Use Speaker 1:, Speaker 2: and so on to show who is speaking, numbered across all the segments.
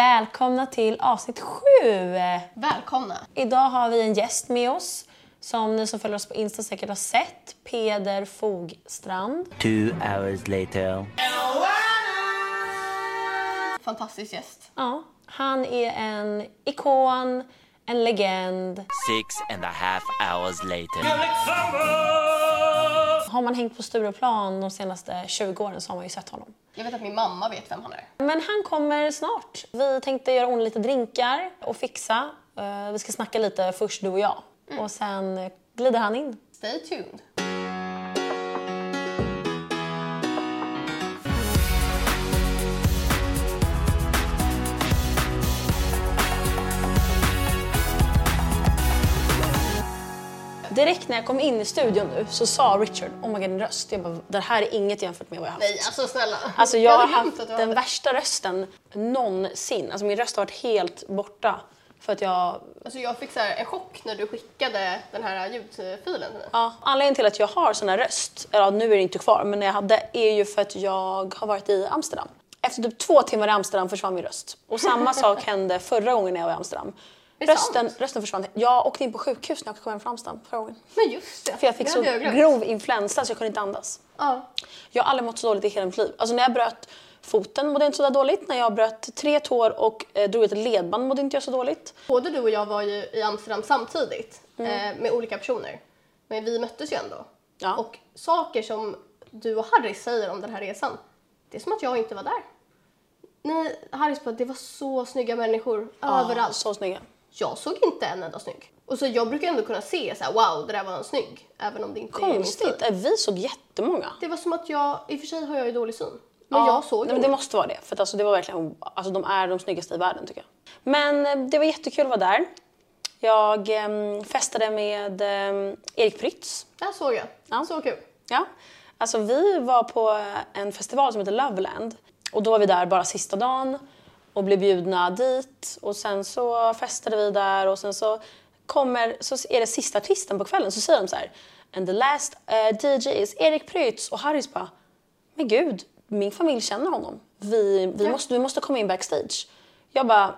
Speaker 1: Välkomna till avsnitt 7!
Speaker 2: Välkomna!
Speaker 1: Idag har vi en gäst med oss som ni som följer oss på Insta säkert har sett. Peder Fogstrand.
Speaker 3: Two hours later.
Speaker 2: Fantastisk gäst.
Speaker 1: Ja, han är en ikon, en legend.
Speaker 3: Six and a half hours later.
Speaker 1: Har man hängt på Stureplan de senaste 20 åren så har man ju sett honom.
Speaker 2: Jag vet att min mamma vet vem han är.
Speaker 1: Men han kommer snart. Vi tänkte göra ordning lite drinkar och fixa. Eh, Vi ska snacka lite först du och jag. Och sen glider han in.
Speaker 2: Stay tuned!
Speaker 1: Direkt när jag kom in i studion nu så sa Richard, oh my god din röst. Jag bara, det här är inget jämfört med vad jag har haft.
Speaker 2: Nej, alltså snälla.
Speaker 1: Alltså jag har
Speaker 2: hade glömt
Speaker 1: haft
Speaker 2: att du
Speaker 1: den
Speaker 2: hade-
Speaker 1: värsta rösten någonsin. Alltså min röst har varit helt borta. För att jag,
Speaker 2: Alltså jag fick så här en chock när du skickade den här ljudfilen till mig.
Speaker 1: ja, anledningen till att jag har sån här röst, eller ja, nu är det inte kvar, men när jag hade, är ju för att jag har varit i Amsterdam. Efter typ två timmar i Amsterdam försvann min röst. Och samma sak hände förra gången när jag var i Amsterdam.
Speaker 2: Är det
Speaker 1: Rösten,
Speaker 2: sant?
Speaker 1: rösten försvann. Jag åkte in på sjukhus när jag kom hem från Amsterdam förra gången.
Speaker 2: Men just det,
Speaker 1: För jag fick
Speaker 2: det
Speaker 1: så
Speaker 2: hade jag glömt.
Speaker 1: grov influensa så jag kunde inte andas.
Speaker 2: Ja.
Speaker 1: Jag har aldrig mått så dåligt i hela mitt liv. Alltså när jag bröt foten mådde jag inte så där dåligt. När jag bröt tre tår och eh, drog ut ett ledband mådde inte jag så dåligt.
Speaker 2: Både du och jag var ju i Amsterdam samtidigt eh, med olika personer. Men vi möttes ju ändå.
Speaker 1: Mm. Ja.
Speaker 2: Och saker som du och Harry säger om den här resan, det är som att jag inte var där. Ni, Harrys bara, det var så snygga människor överallt.
Speaker 1: Så snygga.
Speaker 2: jag såg inte en enda snygg. Och så jag brukar ändå kunna se så här, wow, det där var en snygg. Även om det inte är min
Speaker 1: Konstigt.
Speaker 2: stil.
Speaker 1: Eh, Vi såg jättemånga.
Speaker 2: Det var som att jag, i och för sig har jag ju dålig syn. Men jag såg
Speaker 1: Nej, men
Speaker 2: ingen.
Speaker 1: Det måste vara det. För att alltså, det var verkligen, alltså, de är de snyggaste i världen tycker jag. Men eh, det var jättekul att vara där. Jag eh, festade med eh, Erik Prytz.
Speaker 2: Där såg jag.
Speaker 1: Ja.
Speaker 2: Så kul.
Speaker 1: Ja. Alltså vi var på en festival som heter Loveland och då var vi där bara sista dagen och blev bjudna dit och sen så festade vi där och sen så kommer, så är det sista artisten på kvällen så säger de så här And the last eh, DJ is Erik Prytz och Harrys bara Men gud, min familj känner honom. Vi, vi, måste, vi måste komma in backstage. Jag bara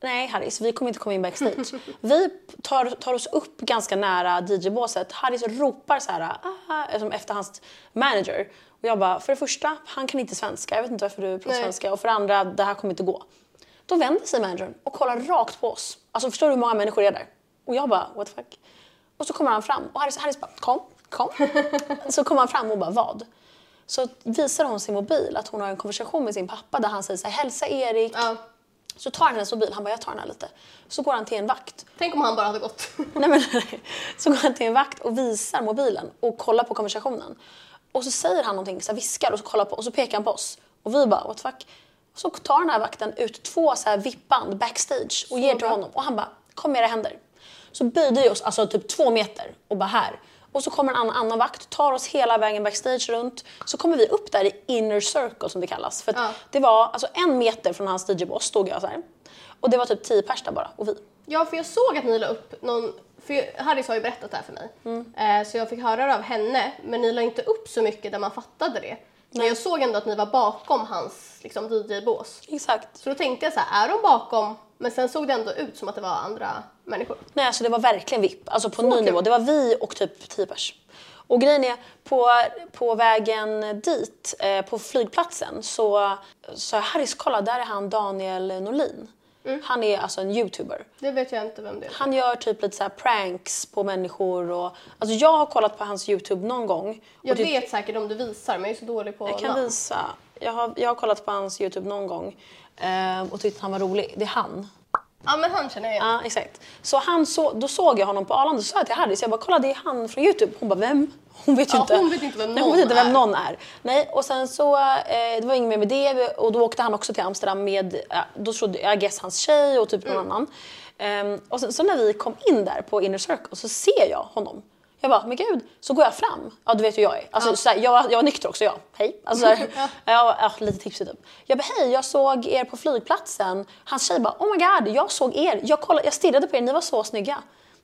Speaker 1: Nej Harris, vi kommer inte komma in backstage. Vi tar, tar oss upp ganska nära DJ-båset. Harris ropar så här, ah, som efter hans manager. Och jag bara, för det första, han kan inte svenska. Jag vet inte varför du pratar
Speaker 2: Nej.
Speaker 1: svenska. Och för det andra, det här kommer inte gå. Då vänder sig managern och kollar rakt på oss. Alltså förstår du hur många människor det är där? Och jag bara, what the fuck? Och så kommer han fram och Harris, Harris bara, kom, kom. så kommer han fram och bara, vad? Så visar hon sin mobil att hon har en konversation med sin pappa där han säger så här, hälsa Erik.
Speaker 2: Ja.
Speaker 1: Så tar han hennes mobil, han bara jag tar den här lite. Så går han till en vakt.
Speaker 2: Tänk om han bara hade gått.
Speaker 1: Nej, men, så går han till en vakt och visar mobilen och kollar på konversationen. Och så säger han någonting, så här viskar och så, kollar på, och så pekar han på oss. Och vi bara what the fuck. Och så tar den här vakten ut två så här vippband backstage och ger till
Speaker 2: bra.
Speaker 1: honom. Och han bara kom med era händer. Så böjde vi oss alltså typ två meter och bara här. Och så kommer en annan, annan vakt, tar oss hela vägen backstage runt. Så kommer vi upp där i inner circle som det kallas. För att
Speaker 2: Ja.
Speaker 1: det var alltså en meter från hans DJ-boss stod jag så här. Och det var typ tio pers där bara och vi.
Speaker 2: ja, för jag såg att ni la upp någon, för jag- Harris har ju berättat det här för mig.
Speaker 1: Mm.
Speaker 2: Eh, så jag fick höra det av henne, men ni la inte upp så mycket där man fattade det. Men jag såg ändå att ni var bakom hans liksom, DJ-bås.
Speaker 1: Exakt.
Speaker 2: Så då tänkte jag så här, är de bakom? Men sen såg det ändå ut som att det var andra människor.
Speaker 1: Nej, alltså det var verkligen VIP. Alltså på ny
Speaker 2: kul.
Speaker 1: nivå. Det var vi och typ 10 pers. Och grejen är, på, på vägen dit, eh, på flygplatsen, så sa jag Harris, kolla där är han Daniel Norlin.
Speaker 2: Mm.
Speaker 1: Han är alltså en youtuber.
Speaker 2: Det vet jag inte vem det är.
Speaker 1: Han gör typ lite så här pranks på människor och... Alltså jag har kollat på hans youtube någon gång.
Speaker 2: Jag
Speaker 1: och typ-
Speaker 2: vet säkert om du visar, men jag är så dålig på
Speaker 1: jag kan
Speaker 2: namn.
Speaker 1: visa. Jag har, jag har kollat på hans youtube någon gång eh, och tyckte han var rolig. Det är han.
Speaker 2: Ja, men han känner jag igen.
Speaker 1: Ja, exakt. Så han så, då såg jag honom på Arlanda och sa jag till Harry, så jag bara kolla det är han från Youtube. Hon bara vem? Hon vet ju
Speaker 2: Ja,
Speaker 1: inte.
Speaker 2: hon vet inte vem
Speaker 1: Nej, hon
Speaker 2: någon
Speaker 1: vet inte vem
Speaker 2: är.
Speaker 1: någon är. Nej, och sen så, eh, det var inget mer med det och då åkte han också till Amsterdam med, eh, då trodde jag I guess hans tjej och typ någon
Speaker 2: Mm.
Speaker 1: annan. Ehm, och sen så när vi kom in där på Inner Circle så ser jag honom. Jag bara, men gud. Så går jag fram. Ja, du vet hur jag är. Alltså, så här, jag, jag var nykter också, jag. Hej. Alltså, så här, ja. Ja, lite tipsig typ. Jag bara, hej, jag såg er på flygplatsen. Hans tjej bara, oh my god, jag såg er. Jag, kollade, jag stirrade på er, ni var så snygga.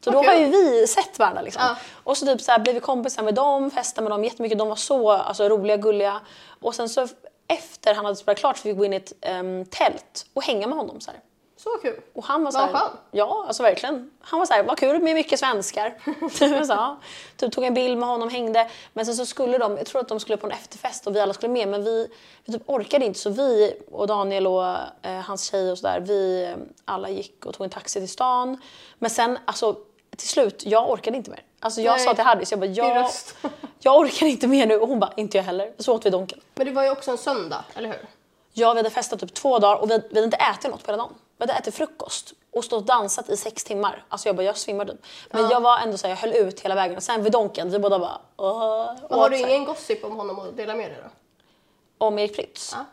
Speaker 1: Så då
Speaker 2: Okej.
Speaker 1: har ju vi sett varandra liksom.
Speaker 2: Ja.
Speaker 1: Och så typ så här, blev vi kompisar med dem, festade med dem jättemycket. De var så alltså, roliga, gulliga. Och sen så efter han hade spelat klart så fick vi gå in i ett ehm, tält och hänga med honom. Så här.
Speaker 2: Så kul.
Speaker 1: Och han var så
Speaker 2: Vad
Speaker 1: här,
Speaker 2: skön.
Speaker 1: Ja, alltså verkligen. Han var så här, vad kul med mycket svenskar. Jag sa, ja. typ tog en bild med honom, hängde. Men sen så skulle de, jag tror att de skulle på en efterfest och vi alla skulle med men vi, vi typ orkade inte så vi och Daniel och eh, hans tjej och sådär, vi eh, alla gick och tog en taxi till stan. Men sen alltså till slut, jag orkade inte mer. Alltså jag
Speaker 2: Nej.
Speaker 1: sa till Harris, jag bara, jag,
Speaker 2: röst.
Speaker 1: jag orkar inte mer nu. Och hon bara, inte jag heller. Så åt vi Donken.
Speaker 2: Men det var ju också en söndag, eller hur?
Speaker 1: Ja, vi hade festat typ två dagar och vi hade, vi hade inte ätit något på hela dagen. Vi hade ätit frukost och stått och dansat i sex timmar. Alltså jag bara, jag svimmar typ. Men jag var ändå så här, jag höll ut hela vägen. Och sen vid Donken, vi båda bara... åh.
Speaker 2: Men
Speaker 1: Och
Speaker 2: har du
Speaker 1: så här,
Speaker 2: ingen gossip om honom att dela med dig då?
Speaker 1: Om Erik Prytz?
Speaker 2: Ja.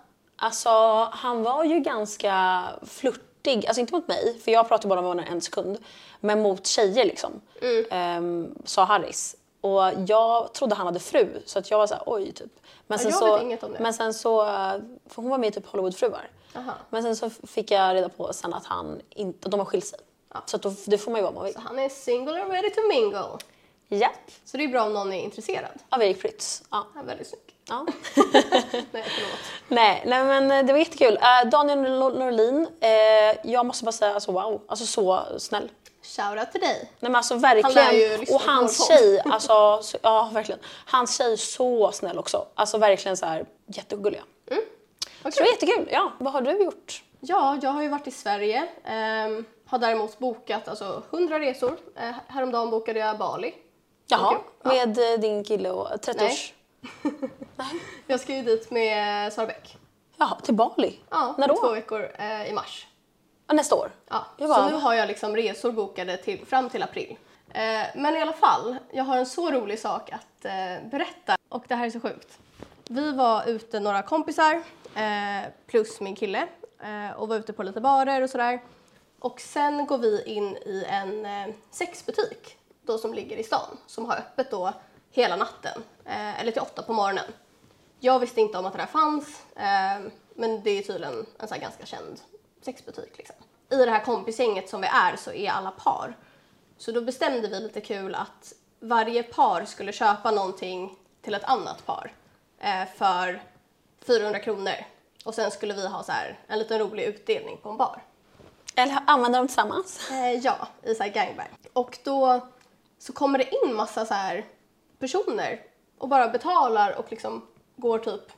Speaker 1: Alltså, han var ju ganska flörtig. Alltså inte mot mig, för jag pratade bara med honom en sekund. Men mot tjejer liksom,
Speaker 2: Mm.
Speaker 1: ehm, sa Harris. Och jag trodde han hade fru, så att jag var såhär oj typ. Men
Speaker 2: jag
Speaker 1: så,
Speaker 2: vet inget om det.
Speaker 1: Men sen så, eh, för hon var med i typ Hollywoodfruar.
Speaker 2: Aha.
Speaker 1: Men sen så fick jag reda på sen att han inte, att de har skilt sig. Så att då, det får man ju vara vad man vill.
Speaker 2: Han är single and ready to mingle.
Speaker 1: Ja,
Speaker 2: Så det är bra om någon är intresserad.
Speaker 1: av Erik Prytz. Ja.
Speaker 2: Han är väldigt snygg.
Speaker 1: ja.
Speaker 2: Nej, förlåt.
Speaker 1: Nej, nej men eh, det var jättekul. Eh, Daniel Nor- Norlin, eh, jag måste bara säga alltså wow, alltså så snäll.
Speaker 2: Shoutout till dig.
Speaker 1: Nej men alltså
Speaker 2: Han lär ju
Speaker 1: verkligen.
Speaker 2: lyssna
Speaker 1: och
Speaker 2: på
Speaker 1: hans
Speaker 2: vår podd.
Speaker 1: tjej, alltså så, ja verkligen. Hans tjej så snäll också. Alltså verkligen så här jättegulliga.
Speaker 2: Vad
Speaker 1: Så det var
Speaker 2: kul.
Speaker 1: jättekul. Ja, vad har du gjort?
Speaker 2: Ja, jag har ju varit i Sverige. ehm, har däremot bokat alltså, 100 resor. Eh, häromdagen bokade jag Bali.
Speaker 1: Jaha,
Speaker 2: Okej, ja.
Speaker 1: med eh, din kille och 30-års...
Speaker 2: Jag ska ju dit med Sara Bäck.
Speaker 1: Jaha, till Bali?
Speaker 2: Ja,
Speaker 1: När
Speaker 2: om två
Speaker 1: då?
Speaker 2: veckor eh, i mars.
Speaker 1: Ja, nästa år?
Speaker 2: Ja,
Speaker 1: Jag bara,
Speaker 2: så nu har jag liksom resor bokade till, fram till april. Eh, men i alla fall, jag har en så rolig sak att eh, berätta. Och det här är så sjukt. Vi var ute, några kompisar, eh, plus min kille, eh, och var ute på lite barer och sådär. Och sen går vi in i en eh, sexbutik, då som ligger i stan, som har öppet då hela natten, eh, eller till åtta på morgonen. Jag visste inte om att det där fanns, eh, men det är tydligen en så här ganska känd sexbutik. Liksom. I det här kompisgänget som vi är så är alla par. Så då bestämde vi lite kul att varje par skulle köpa någonting till ett annat par eh, för 400 kronor. Och sen skulle vi ha så här en liten rolig utdelning på en bar.
Speaker 1: Eller använder de tillsammans?
Speaker 2: Eh, ja, i så här gangbang. Och då så kommer det in massa så här personer och bara betalar och liksom går typ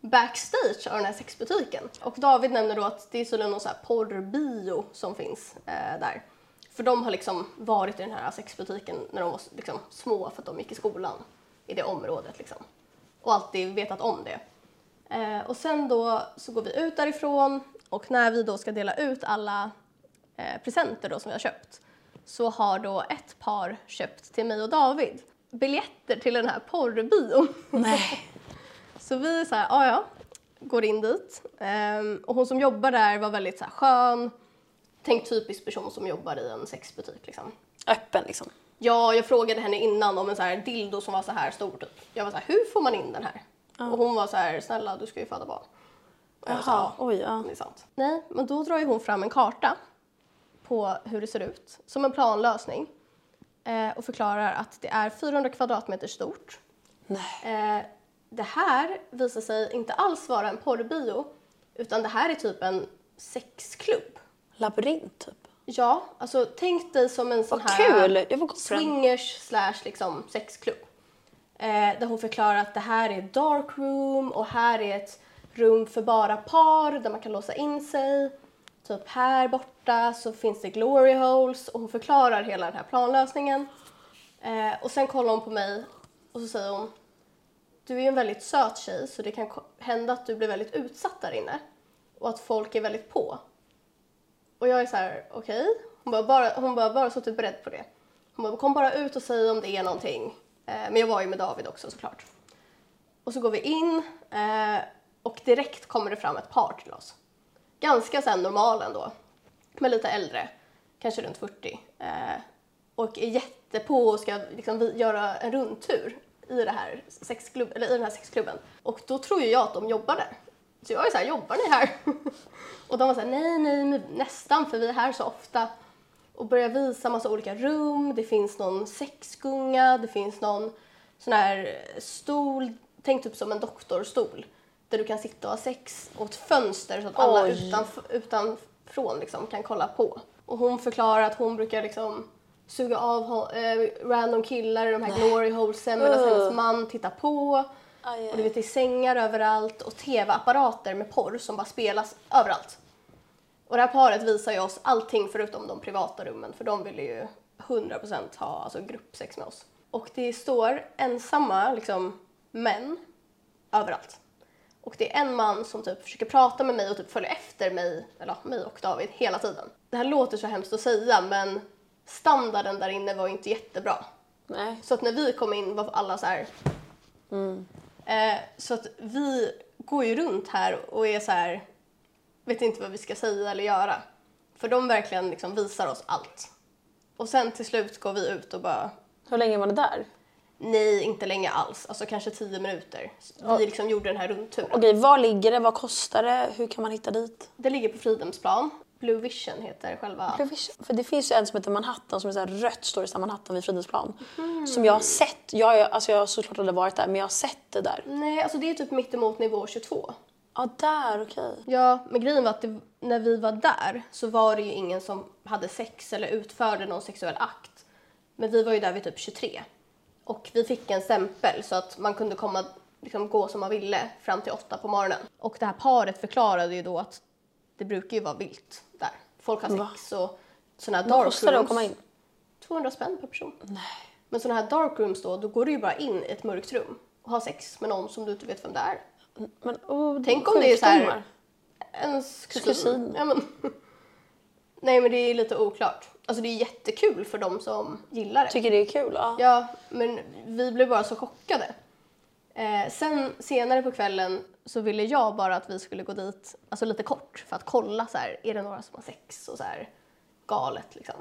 Speaker 2: backstage av den här sexbutiken. Och David nämner då att det är tydligen någon så här porrbio som finns eh, där. För de har liksom varit i den här sexbutiken när de var liksom små för att de gick i skolan i det området liksom. Och alltid vetat om det. Eh, och sen då så går vi ut därifrån och när vi då ska dela ut alla eh, presenter då som vi har köpt så har då ett par köpt till mig och David biljetter till den här porrbion.
Speaker 1: Nej.
Speaker 2: Så vi är så här, ja ja, går in dit. Ehm, och hon som jobbar där var väldigt så här skön. Tänk typisk person som jobbar i en sexbutik liksom.
Speaker 1: Öppen liksom.
Speaker 2: Ja, jag frågade henne innan om en så här dildo som var så här stor typ. Jag var så här, hur får man in den här? Och hon var så här, snälla du ska ju föda barn. Och jag var så här,
Speaker 1: Jaha, oj ja.
Speaker 2: det är sant. Nej, men då drar ju hon fram en karta på hur det ser ut, som en planlösning eh, och förklarar att det är 400 kvadratmeter stort.
Speaker 1: Nej.
Speaker 2: Eh, det här visar sig inte alls vara en porrbio, utan det här är typ en sexklubb.
Speaker 1: Labyrint typ.
Speaker 2: Ja, alltså tänk dig som en sån
Speaker 1: Vad
Speaker 2: här
Speaker 1: kul! Jag får gå på den.
Speaker 2: swingers slash liksom sexklubb. Eh, där hon förklarar att det här är dark room och här är ett rum för bara par där man kan låsa in sig. Typ här borta så finns det glory holes och hon förklarar hela den här planlösningen. Eh, och sen kollar hon på mig och så säger hon Du är ju en väldigt söt tjej så det kan ko- hända att du blir väldigt utsatt där inne och att folk är väldigt på. Och jag är så här, okej. Hon bara, bara, hon bara, bara så att du är beredd på det. Hon bara, kom bara ut och säg om det är någonting. Eh, men jag var ju med David också såklart. Och så går vi in eh, och direkt kommer det fram ett par till oss. Ganska sen normal ändå, men lite äldre. Kanske runt 40. Eh, och är jättepå och ska liksom vi- göra en rundtur i, det här sexklubb, eller i den här sexklubben. Och då tror ju jag att de jobbar där. Så jag är så här, jobbar ni här? och de var så här, nej, nej, men nästan, för vi är här så ofta. Och börjar visa massa olika rum, det finns någon sexgunga, det finns någon sån här stol, tänk typ som en doktorstol. där du kan sitta och ha sex och ett fönster så att liksom alla
Speaker 1: Oj.
Speaker 2: utanf- utanför liksom kan kolla på. Och hon förklarar att hon brukar liksom suga av ho- eh, random killar i de här glory holesen medan
Speaker 1: Ugh.
Speaker 2: hennes man tittar på.
Speaker 1: Aj, aj.
Speaker 2: Och du vet, det är sängar överallt och tv-apparater med porr som bara spelas överallt. Och det här paret visar ju oss allting förutom de privata rummen för de ville ju 100% ha alltså, gruppsex med oss. Och det står ensamma liksom, män överallt. Och det är en man som typ försöker prata med mig och typ följer efter mig, eller ja, mig och David hela tiden. Det här låter så hemskt att säga men standarden där inne var ju inte jättebra.
Speaker 1: Nej.
Speaker 2: Så att när vi kom in var alla så här... Eh, så att vi går ju runt här och är så här... Vet inte vad vi ska säga eller göra. För de verkligen liksom visar oss allt. Och sen till slut går vi ut och bara...
Speaker 1: Hur länge var ni där?
Speaker 2: Nej, inte länge alls. Alltså kanske tio minuter. Vi liksom gjorde den här rundturen.
Speaker 1: Okej, var ligger det? Vad kostar det? Hur kan man hitta dit?
Speaker 2: Det ligger på Fridhemsplan. Blue Vision heter själva...
Speaker 1: För det finns ju en som heter Manhattan som är så här rött står det så här Manhattan vid Fridhemsplan. Som jag har sett. Jag, har- alltså jag har såklart aldrig varit där men jag har sett det där.
Speaker 2: Nej, alltså det är typ mittemot nivå 22.
Speaker 1: Ja, där okej.
Speaker 2: Ja, men grejen var att det, när vi var där så var det ju ingen som hade sex eller utförde någon sexuell akt. Men vi var ju där vid typ 23. Och vi fick en stämpel så att man kunde komma, liksom, gå som man ville fram till åtta på morgonen. Och det här paret förklarade ju då att det brukar ju vara vilt där. Folk har sex och sådana här
Speaker 1: Vad
Speaker 2: dark
Speaker 1: kostar det att
Speaker 2: rooms.
Speaker 1: komma in?
Speaker 2: 200 spänn per person. Men sådana här dark rooms då, då går du ju bara in i ett mörkt rum och har sex med någon som du inte vet vem det är.
Speaker 1: Men oh,
Speaker 2: Tänk om det är så här-
Speaker 1: sjukdomar.
Speaker 2: Ens kusin.
Speaker 1: Kusin.
Speaker 2: Ja, men. Nej men det är lite oklart. Alltså det är jättekul för de som gillar det.
Speaker 1: Tycker det är kul? Ja.
Speaker 2: Ja, men vi blev bara så chockade. Eh, sen senare på kvällen så ville jag bara att vi skulle gå dit, alltså lite kort, för att kolla så här, är det några som har sex och så här galet liksom.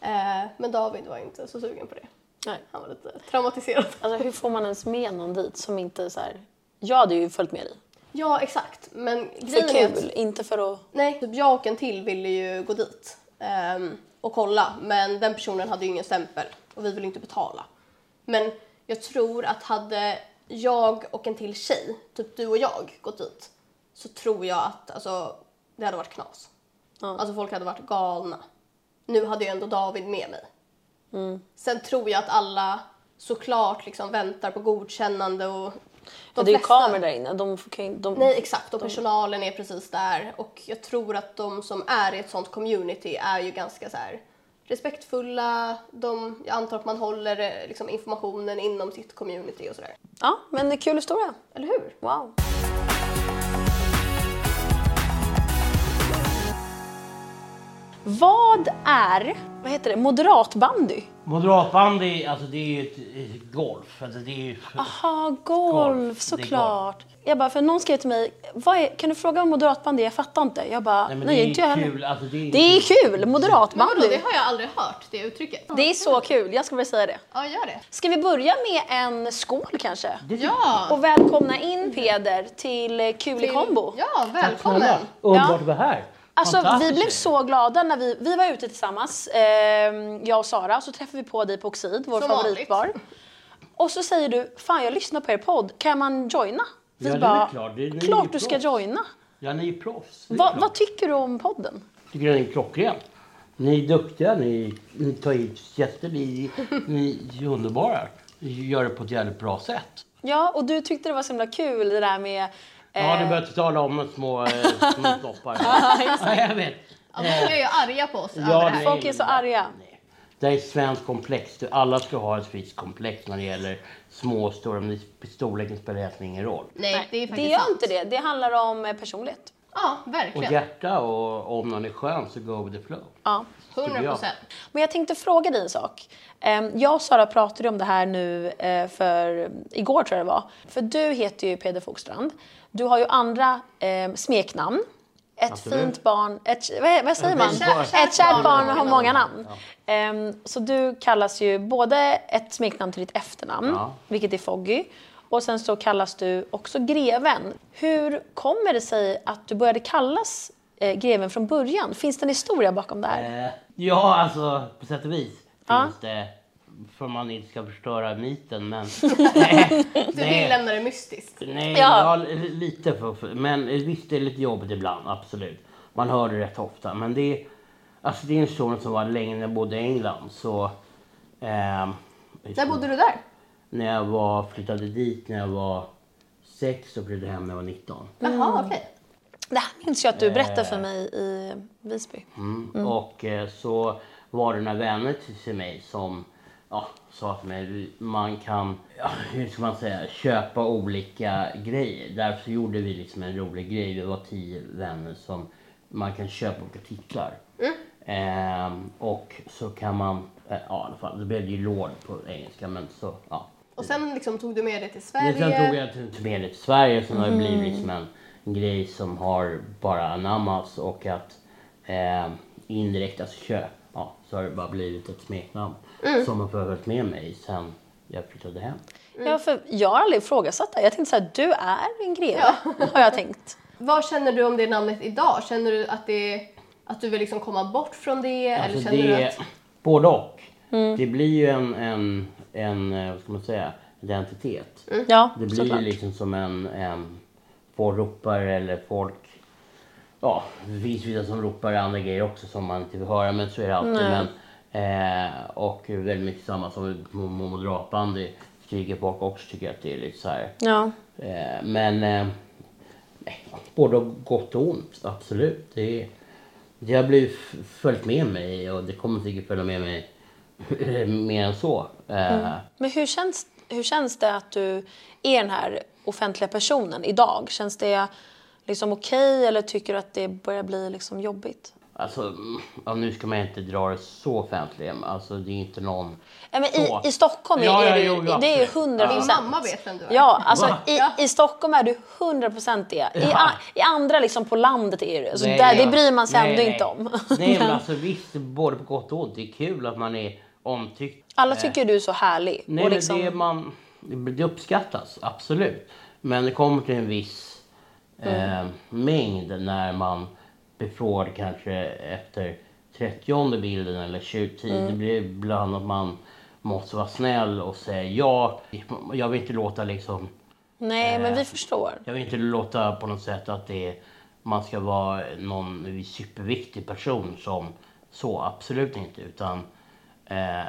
Speaker 2: Eh, men David var inte så sugen på det.
Speaker 1: Nej.
Speaker 2: Han var lite traumatiserad.
Speaker 1: Alltså hur får man ens med någon dit som inte är så här... Jag hade ju följt med dig.
Speaker 2: Ja, exakt. Men
Speaker 1: För
Speaker 2: grejen är att-
Speaker 1: kul, inte för att...
Speaker 2: Nej, typ jag och en till ville ju gå dit ehm, och kolla men den personen hade ju ingen stämpel och vi ville inte betala. Men jag tror att hade jag och en till tjej, typ du och jag, gått dit så tror jag att alltså, det hade varit knas.
Speaker 1: Ja.
Speaker 2: Alltså folk hade varit galna. Nu hade ju ändå David med mig.
Speaker 1: Mm.
Speaker 2: Sen tror jag att alla såklart liksom väntar på godkännande och de
Speaker 1: det är ju
Speaker 2: flesta-
Speaker 1: kameror där inne. De får- kan ju... De...
Speaker 2: Nej exakt och personalen är precis där och jag tror att de som är i ett sånt community är ju ganska så här respektfulla, de, jag antar att man håller eh, liksom, informationen inom sitt community och sådär.
Speaker 1: Ja, men det är kul historia.
Speaker 2: Eller hur?
Speaker 1: Wow. Vad är, vad heter det, moderatbandy?
Speaker 4: Moderatbandy, alltså det är ju ett, ett golf. Alltså det är ju...
Speaker 1: Ah, Aha, golf,
Speaker 4: Golf, det är
Speaker 1: såklart. Jag bara, för någon skrev till mig, vad är, kan du fråga om moderatbandy? Jag fattar inte. Jag bara, nej,
Speaker 4: men
Speaker 1: det
Speaker 4: det
Speaker 1: är
Speaker 4: är
Speaker 1: inte jag heller.
Speaker 4: kul, alltså det är-
Speaker 1: det är kul,
Speaker 2: Men vadå, det
Speaker 1: moderatbandy.
Speaker 2: har jag aldrig hört det uttrycket.
Speaker 1: Det är så kul, jag ska bara säga det.
Speaker 2: Ja, gör det.
Speaker 1: Ska vi börja med en skål kanske?
Speaker 4: typ-
Speaker 2: Ja!
Speaker 1: Och välkomna in Peder till Kul i kombo.
Speaker 2: Ja,
Speaker 4: Tack snälla.
Speaker 2: välkommen!
Speaker 4: Underbart
Speaker 1: Ja.
Speaker 4: att vara här.
Speaker 1: Alltså vi
Speaker 4: Fantastiskt.
Speaker 1: blev så glada när vi, vi var ute tillsammans, eh, jag och Sara, så träffade vi på dig på Oxid, vår
Speaker 2: Som
Speaker 1: favoritbar. Och så säger du, fan jag lyssnar på er podd, kan man joina? Vi
Speaker 4: Ja, det är väl klart. Det är- det är
Speaker 1: klart
Speaker 4: ju
Speaker 1: du ska
Speaker 4: proffs."
Speaker 1: joina.
Speaker 4: Ja, ni är proffs. Det är
Speaker 1: Va,
Speaker 4: klart.
Speaker 1: vad tycker du om podden?
Speaker 4: tycker den är klockren. Ni är duktiga, ni, ni tar hit gäster, ni, ni är underbara. Ni gör det på ett jävligt bra sätt.
Speaker 1: Ja, och du tyckte det var så himla kul det där med... eh,
Speaker 4: Ja, ni börjar inte tala om små, eh, små toppar. ja, jag vet.
Speaker 2: Ja, många är ju arga på oss över det
Speaker 4: Ja,
Speaker 2: här.
Speaker 1: Folk är så arga.
Speaker 4: Nej. Det här är ett svenskt komplex. Du- Alla ska ha ett svenskt komplex när det gäller små och stora, men storleken spelar egentligen ingen roll.
Speaker 2: Nej, det är
Speaker 1: Det
Speaker 2: faktiskt
Speaker 1: gör
Speaker 2: sant.
Speaker 1: inte det, det handlar om eh, personlighet.
Speaker 2: Ja,
Speaker 4: Och
Speaker 2: verkligen.
Speaker 4: hjärta och om någon är skön så go with the flow.
Speaker 1: Ja.
Speaker 2: 100 procent.
Speaker 1: Men jag tänkte fråga dig en sak. Eh, Jag och Sara pratade om det här nu eh, för igår tror jag det var. För du heter ju Peder Fogstrand. Du har ju andra eh, smeknamn. Ett
Speaker 4: Absolut.
Speaker 1: fint barn, ett, vad, vad säger man?
Speaker 4: Ett kärt-
Speaker 2: kärt
Speaker 1: ett kärt barn
Speaker 2: barn
Speaker 1: har många namn. Eh, Så du kallas ju både ett smeknamn till ditt efternamn,
Speaker 4: Ja.
Speaker 1: vilket är Foggy, och sen så kallas du också Greven. Hur kommer det sig att du började kallas eh, Greven från Eh, början? Finns det en historia bakom det här?
Speaker 4: Eh, ja, alltså på sätt och vis
Speaker 1: Ja.
Speaker 4: finns det för man inte ska förstöra myten. Men,
Speaker 2: Du vill lämna det mystiskt.
Speaker 4: Nej,
Speaker 1: Ja.
Speaker 4: ja. lite för, för- Men visst, det är lite jobbigt ibland, absolut. Man hör det rätt ofta. Men det är, alltså det är en son som var länge när jag bodde i England. Så, ehm,
Speaker 2: När bodde du där?
Speaker 4: När jag var, flyttade dit när jag var sex och flyttade hem när jag var 19.
Speaker 1: Mm.
Speaker 2: Jaha, okej.
Speaker 1: Det här minns jag att du berättade
Speaker 4: Eh.
Speaker 1: för mig i Visby.
Speaker 4: Mm. Och eh, så var det några vänner till- till mig som ja, sa till mig man kan, ja, hur ska man säga, köpa olika grejer. Därför så gjorde vi liksom en rolig grej. Vi var tio vänner som man kan köpa olika titlar. Ehm, och så kan man, eh, ja i alla fall, det blev ju lån på engelska men så, ja.
Speaker 2: Och sen liksom tog du med det till
Speaker 4: Men sen tog
Speaker 2: Sverige. Mm.
Speaker 4: jag till- till med det till Sverige som har det blivit liksom en grej som har bara anammats och att eh, indirekt, alltså kö, ja, så har det bara blivit ett smeknamn
Speaker 2: Mm.
Speaker 4: som har följt med mig sen jag flyttade hem.
Speaker 1: Ja, för jag har aldrig ifrågasatt det. Jag tänkte så här, du är en greve, har jag tänkt.
Speaker 2: Vad känner du om det namnet idag? Känner du att, det, att du vill liksom komma bort från det?
Speaker 4: Alltså
Speaker 2: eller känner
Speaker 4: det
Speaker 2: du
Speaker 4: är
Speaker 2: att... Mm.
Speaker 4: både och. Det blir ju en, en, en, eh, vad ska man säga, identitet.
Speaker 2: Mm.
Speaker 1: Ja,
Speaker 4: Det blir
Speaker 1: såklart.
Speaker 4: ju liksom som en, en folk ropar eller folk... Ja, det finns vissa som ropar andra grejer också som man inte vill höra men så är det alltid. Men, eh, och väldigt mycket samma som på moderatbandy skriker folk också tycker att det är lite så här.
Speaker 1: Ja.
Speaker 4: Eh, men eh, nej, både gott och ont, absolut. Det, det har blivit f- följt med mig och det kommer säkert följa med mig mer än så. Eh,
Speaker 1: Men hur känns, hur känns det att du är den här offentliga personen idag? Känns det liksom okej eller tycker du att det börjar bli liksom jobbigt?
Speaker 4: Alltså, mm, ja, nu ska man inte dra det så offentligt. Alltså, det är inte någon...
Speaker 1: Ja, men
Speaker 4: Så.
Speaker 1: i, I Stockholm är,
Speaker 4: Ja, ja,
Speaker 1: är du,
Speaker 4: jo, jo,
Speaker 1: det är ju
Speaker 4: absolut.
Speaker 1: 100
Speaker 2: Din
Speaker 1: procent.
Speaker 2: mamma vet vem du är.
Speaker 1: Ja, alltså i,
Speaker 2: Ja.
Speaker 1: i Stockholm är du 100 procent det. I,
Speaker 4: Ja.
Speaker 1: a- I andra liksom på landet är du alltså,
Speaker 4: Nej,
Speaker 1: där,
Speaker 4: ja.
Speaker 1: Det bryr man sig
Speaker 4: Nej,
Speaker 1: ändå
Speaker 4: nej.
Speaker 1: inte om.
Speaker 4: Nej, men alltså visst, både på gott och ont. Det är kul att man är omtyckt.
Speaker 1: Alla tycker du är så härlig.
Speaker 4: Nej,
Speaker 1: och liksom,
Speaker 4: men det, är man, det uppskattas, absolut. Men det kommer till en viss
Speaker 1: Mm.
Speaker 4: eh, mängd när man befrågar kanske efter 30 bilden eller 20.
Speaker 1: Mm.
Speaker 4: Det blir ibland att man måste vara snäll och säga ja. Jag vill inte låta liksom
Speaker 1: nej, men vi förstår.
Speaker 4: jag vill inte låta på något sätt att det är, man ska vara någon superviktig person som så, absolut inte. Utan eh,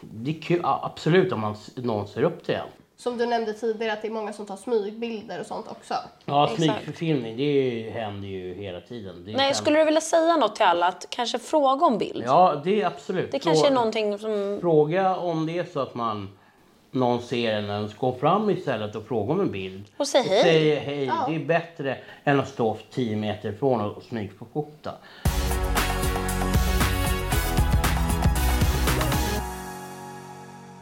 Speaker 4: det är kul, a- absolut om man, s- någon ser upp till en.
Speaker 2: Som du nämnde tidigare att det är många som tar smygbilder och sånt också.
Speaker 4: Ja,
Speaker 1: Exakt.
Speaker 4: smygförfilmning det är ju, händer ju hela tiden. Det
Speaker 1: Nej,
Speaker 4: kan-
Speaker 1: skulle du vilja säga något till alla? Att kanske fråga om bild?
Speaker 4: Ja, det är absolut.
Speaker 1: Det kanske är
Speaker 4: Frå-
Speaker 1: någonting som...
Speaker 4: Fråga om det är så att man någon ser en, eller så gå fram istället och fråga om en bild.
Speaker 1: Och säg hej.
Speaker 4: Säg hej.
Speaker 2: Ja.
Speaker 4: Det är bättre än att stå 10 meter ifrån och smygfota.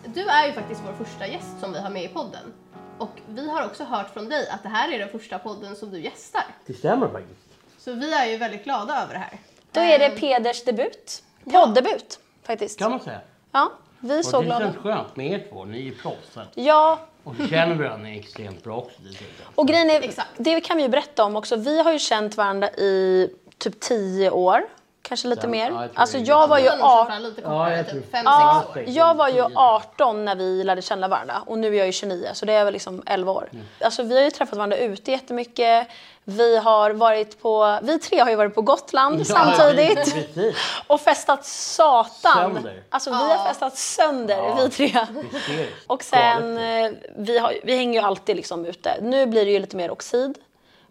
Speaker 2: Du är ju faktiskt vår första gäst som vi har med i podden. Och vi har också hört från dig att det här är den första podden som du gästar.
Speaker 4: Det stämmer faktiskt.
Speaker 2: Så vi är ju väldigt glada över det här.
Speaker 1: Då är
Speaker 2: Ehm.
Speaker 1: det Peders debut. Poddebut, faktiskt.
Speaker 4: Kan man säga.
Speaker 1: Ja, vi är så
Speaker 4: Och det
Speaker 1: glada.
Speaker 4: känns skönt med er två, ni är proffsen.
Speaker 1: Ja,
Speaker 4: Och så känner varandra extremt bra också dessutom.
Speaker 1: och grejen är,
Speaker 2: Exakt.
Speaker 1: det kan vi ju berätta om också. Vi har ju känt varandra i typ 10 år. Kanske lite
Speaker 4: Ja, jag tror
Speaker 1: mer.
Speaker 4: det är
Speaker 1: Alltså
Speaker 4: lite
Speaker 1: jag var
Speaker 2: Vi
Speaker 1: ju
Speaker 2: har nog känt
Speaker 1: 18.
Speaker 2: varandra lite
Speaker 4: Ja,
Speaker 2: kortare,
Speaker 4: jag
Speaker 2: typ
Speaker 4: tror-
Speaker 2: 5-6
Speaker 1: Ja,
Speaker 2: år.
Speaker 4: sex,
Speaker 1: jag var ju
Speaker 4: tio.
Speaker 1: 18 när vi lärde känna varandra och nu är jag ju 29 så det är väl liksom 11 år.
Speaker 4: Mm.
Speaker 1: Alltså vi har ju träffat varandra ute jättemycket. Vi har varit på, vi tre har ju varit på Gotland
Speaker 4: Ja,
Speaker 1: samtidigt.
Speaker 4: precis.
Speaker 1: Och festat satan.
Speaker 4: Sönder.
Speaker 1: Alltså vi har festat sönder, vi tre.
Speaker 4: Hysteriskt.
Speaker 1: Och sen,
Speaker 4: Galet.
Speaker 1: eh, vi, har, vi hänger ju alltid liksom ute. Nu blir det ju lite mer oxid.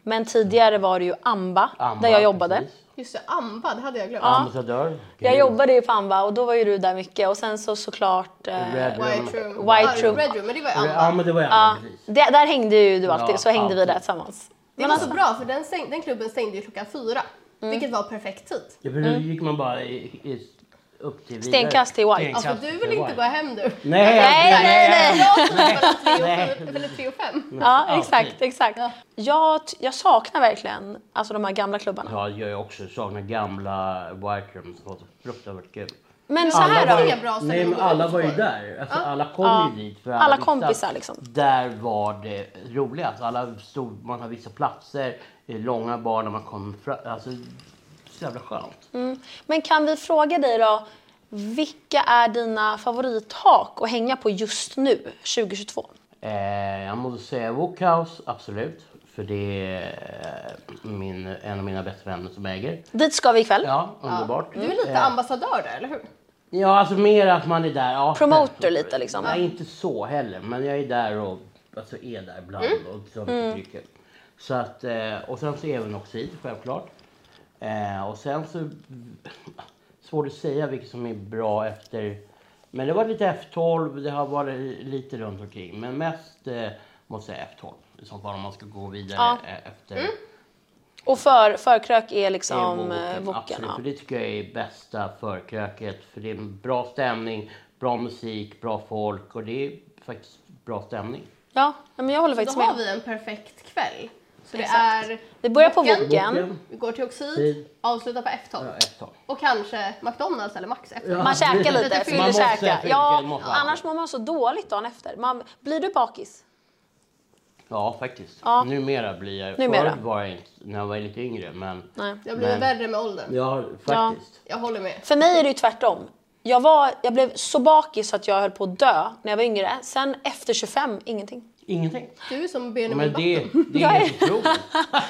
Speaker 1: Men tidigare var det ju Amba,
Speaker 4: Amba,
Speaker 1: där jag jobbade.
Speaker 4: precis.
Speaker 2: Just det, Amba, det hade jag glömt.
Speaker 4: Ambassadör.
Speaker 1: Jag jobbade ju på Amba och då var ju du där mycket. Och sen så såklart... Eh,
Speaker 4: Red Room.
Speaker 2: White Room.
Speaker 1: White
Speaker 2: Ja,
Speaker 1: Room.
Speaker 2: Red Room, men det var ju
Speaker 4: Ja,
Speaker 2: Amba.
Speaker 4: men det var jag. Ja. Precis.
Speaker 1: där, där hängde ju du alltid,
Speaker 4: Ja,
Speaker 1: så hängde vi
Speaker 4: alltid.
Speaker 1: där tillsammans.
Speaker 2: Det var så alltså bra för den, stäng, den klubben stängde ju klockan fyra.
Speaker 1: Mm.
Speaker 2: Vilket var perfekt tid.
Speaker 4: Ja, för då gick man bara i, i, upp till vidare.
Speaker 1: Stenkast till White.
Speaker 4: Stenkast
Speaker 2: Alltså du vill
Speaker 4: till
Speaker 2: inte
Speaker 4: White.
Speaker 2: gå hem nu.
Speaker 4: Nej,
Speaker 1: Nej, nej, nej!
Speaker 2: Jag tror mellan tre och
Speaker 4: Nej.
Speaker 2: fem- eller tre och fem.
Speaker 1: Ja, exakt,
Speaker 4: Alltid.
Speaker 1: exakt. Jag, t- jag saknar verkligen alltså, de här gamla klubbarna.
Speaker 4: Ja, det gör jag också. Saknar gamla White Room som var så fruktansvärt kul.
Speaker 1: Men så här
Speaker 4: var
Speaker 1: då.
Speaker 4: ju-
Speaker 2: Det är bra ställen
Speaker 4: nej, men
Speaker 2: att gå
Speaker 4: alla
Speaker 2: ut
Speaker 4: var ju
Speaker 2: på.
Speaker 4: där. Alltså, Alla kom ju dit. För
Speaker 1: Alla
Speaker 4: visste
Speaker 1: kompisar,
Speaker 4: att
Speaker 1: liksom.
Speaker 4: Där var det roligast. Alla stod, man har vissa platser, eh, långa
Speaker 1: Mm.
Speaker 4: bar när man kom fram. Alltså, så jävla skönt.
Speaker 1: Men kan vi fråga dig då, Vilka är dina favorithak att hänga på just nu, 2022?
Speaker 4: Eh, jag måste säga Wokhaus, absolut. För det är eh, min, en av mina bästa vänner som äger.
Speaker 1: Dit ska vi ikväll.
Speaker 4: Ja, underbart.
Speaker 2: Du är lite
Speaker 4: Eh,
Speaker 2: ambassadör där, eller hur?
Speaker 4: Ja, alltså mer att man är där. Ja,
Speaker 1: Promoter
Speaker 4: självklart.
Speaker 1: lite liksom.
Speaker 4: Nej, inte så heller. Men jag är där och alltså, är där ibland
Speaker 1: Mm.
Speaker 4: och liksom trycker. Så att, eh, och sen så är även oxid självklart. Eh, och sen så, svårt att säga vilket som är bra efter. Men det var lite F12, det har varit lite runt omkring. Men mest eh, måste jag säga F12. I så fall om man ska gå vidare
Speaker 1: Ja. Mm.
Speaker 4: eh, efter
Speaker 1: Och för, förkrök är
Speaker 4: det är
Speaker 1: liksom
Speaker 4: Woken,
Speaker 1: eh, woken.
Speaker 4: Absolut,
Speaker 1: ja.
Speaker 4: för det tycker jag är bästa förkröket. För det är en bra stämning, bra musik, bra folk och det är faktiskt bra stämning.
Speaker 1: Ja, nej, men jag håller
Speaker 2: Då
Speaker 1: faktiskt
Speaker 2: har
Speaker 1: med.
Speaker 2: vi en perfekt kväll. Så det
Speaker 1: Exakt.
Speaker 2: är...
Speaker 1: Vi börjar på
Speaker 2: Woken.
Speaker 1: Woken.
Speaker 4: Woken,
Speaker 2: Vi går till Oxid,
Speaker 4: Tid.
Speaker 2: avslutar på F12.
Speaker 4: ja, ett tag.
Speaker 2: Och kanske McDonalds eller Max efter.
Speaker 1: Man käkar
Speaker 2: Lite
Speaker 1: lite,
Speaker 2: fyller
Speaker 1: fyller
Speaker 4: måste
Speaker 1: käka.
Speaker 4: fylla,
Speaker 1: Ja,
Speaker 4: måste.
Speaker 1: annars mår man så dåligt dagen efter. Man, blir du bakis?
Speaker 4: Ja, faktiskt.
Speaker 1: Ja.
Speaker 4: Numera blir jag...
Speaker 1: Numera.
Speaker 4: Förr var jag inte, när jag var lite yngre, men...
Speaker 1: Nej.
Speaker 2: Jag blir
Speaker 4: Men-
Speaker 2: värre med åldern.
Speaker 4: Ja, faktiskt.
Speaker 2: Jag håller med.
Speaker 1: För mig är det ju tvärtom. Jag, var, jag blev så bakis att jag höll på att dö när jag var yngre. Sen efter 25, ingenting.
Speaker 4: Ingenting.
Speaker 2: Du är som Benjamin
Speaker 4: Men
Speaker 2: Button.
Speaker 4: det, det är helt otroligt.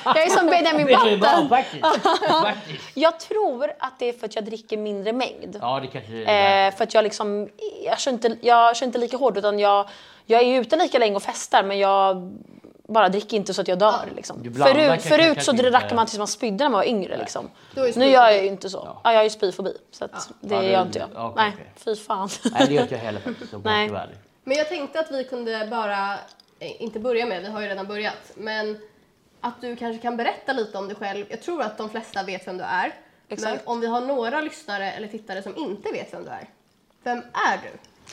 Speaker 1: Jag är som Benjamin
Speaker 4: Det är bra,
Speaker 1: Button.
Speaker 4: faktiskt. faktiskt.
Speaker 1: Jag tror att det är för att jag dricker mindre mängd.
Speaker 4: Ja, det kanske är
Speaker 1: Eh, för att jag liksom, jag kör inte, jag kör inte lika hårt utan jag, jag är ju ute lika länge och festar men jag bara dricker inte så att jag dör. Liksom.
Speaker 4: Du blandar
Speaker 1: Förut,
Speaker 4: kanske-
Speaker 1: förut
Speaker 4: kanske
Speaker 1: så
Speaker 4: inte-
Speaker 1: drack man tills man spydde när man var yngre. Liksom.
Speaker 2: Då är det
Speaker 1: Nu
Speaker 2: spyfobi.
Speaker 1: gör jag ju inte så. Ja. jag har ju spyfobi så att det
Speaker 4: Ja, det-
Speaker 1: gör inte jag.
Speaker 4: okej,
Speaker 1: Nej,
Speaker 4: okej.
Speaker 1: fy fan.
Speaker 4: Nej, det gör inte jag heller faktiskt. Om
Speaker 1: Nej.
Speaker 4: jag ska vara ärlig.
Speaker 2: Men jag tänkte att vi kunde bara, eh, inte börja med, vi har ju redan börjat, men att du kanske kan berätta lite om dig själv. Jag tror att de flesta vet vem du är.
Speaker 1: Exakt.
Speaker 2: Men om vi har några lyssnare eller tittare som inte vet vem du är, vem är du?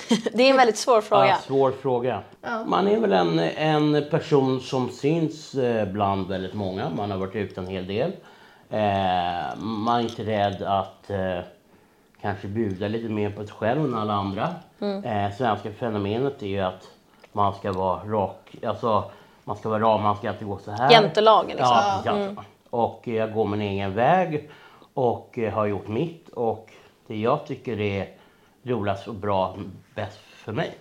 Speaker 1: det är en väldigt svår fråga.
Speaker 4: Ja, svår fråga. Man är väl en, en person som syns eh, bland väldigt många. Man har varit ute en hel del. Eh, man är inte rädd att eh, kanske bjuda lite mer på sig själv än alla andra.
Speaker 1: Mm.
Speaker 4: Eh, svenska fenomenet är ju att man ska vara rak, alltså man ska vara rak, man ska inte gå så här.
Speaker 1: Jantelagen, liksom.
Speaker 4: Ja, precis, jantelagen. Och eh, jag går min egen väg och eh, har gjort mitt och det jag tycker är roligast och bra bäst för mig.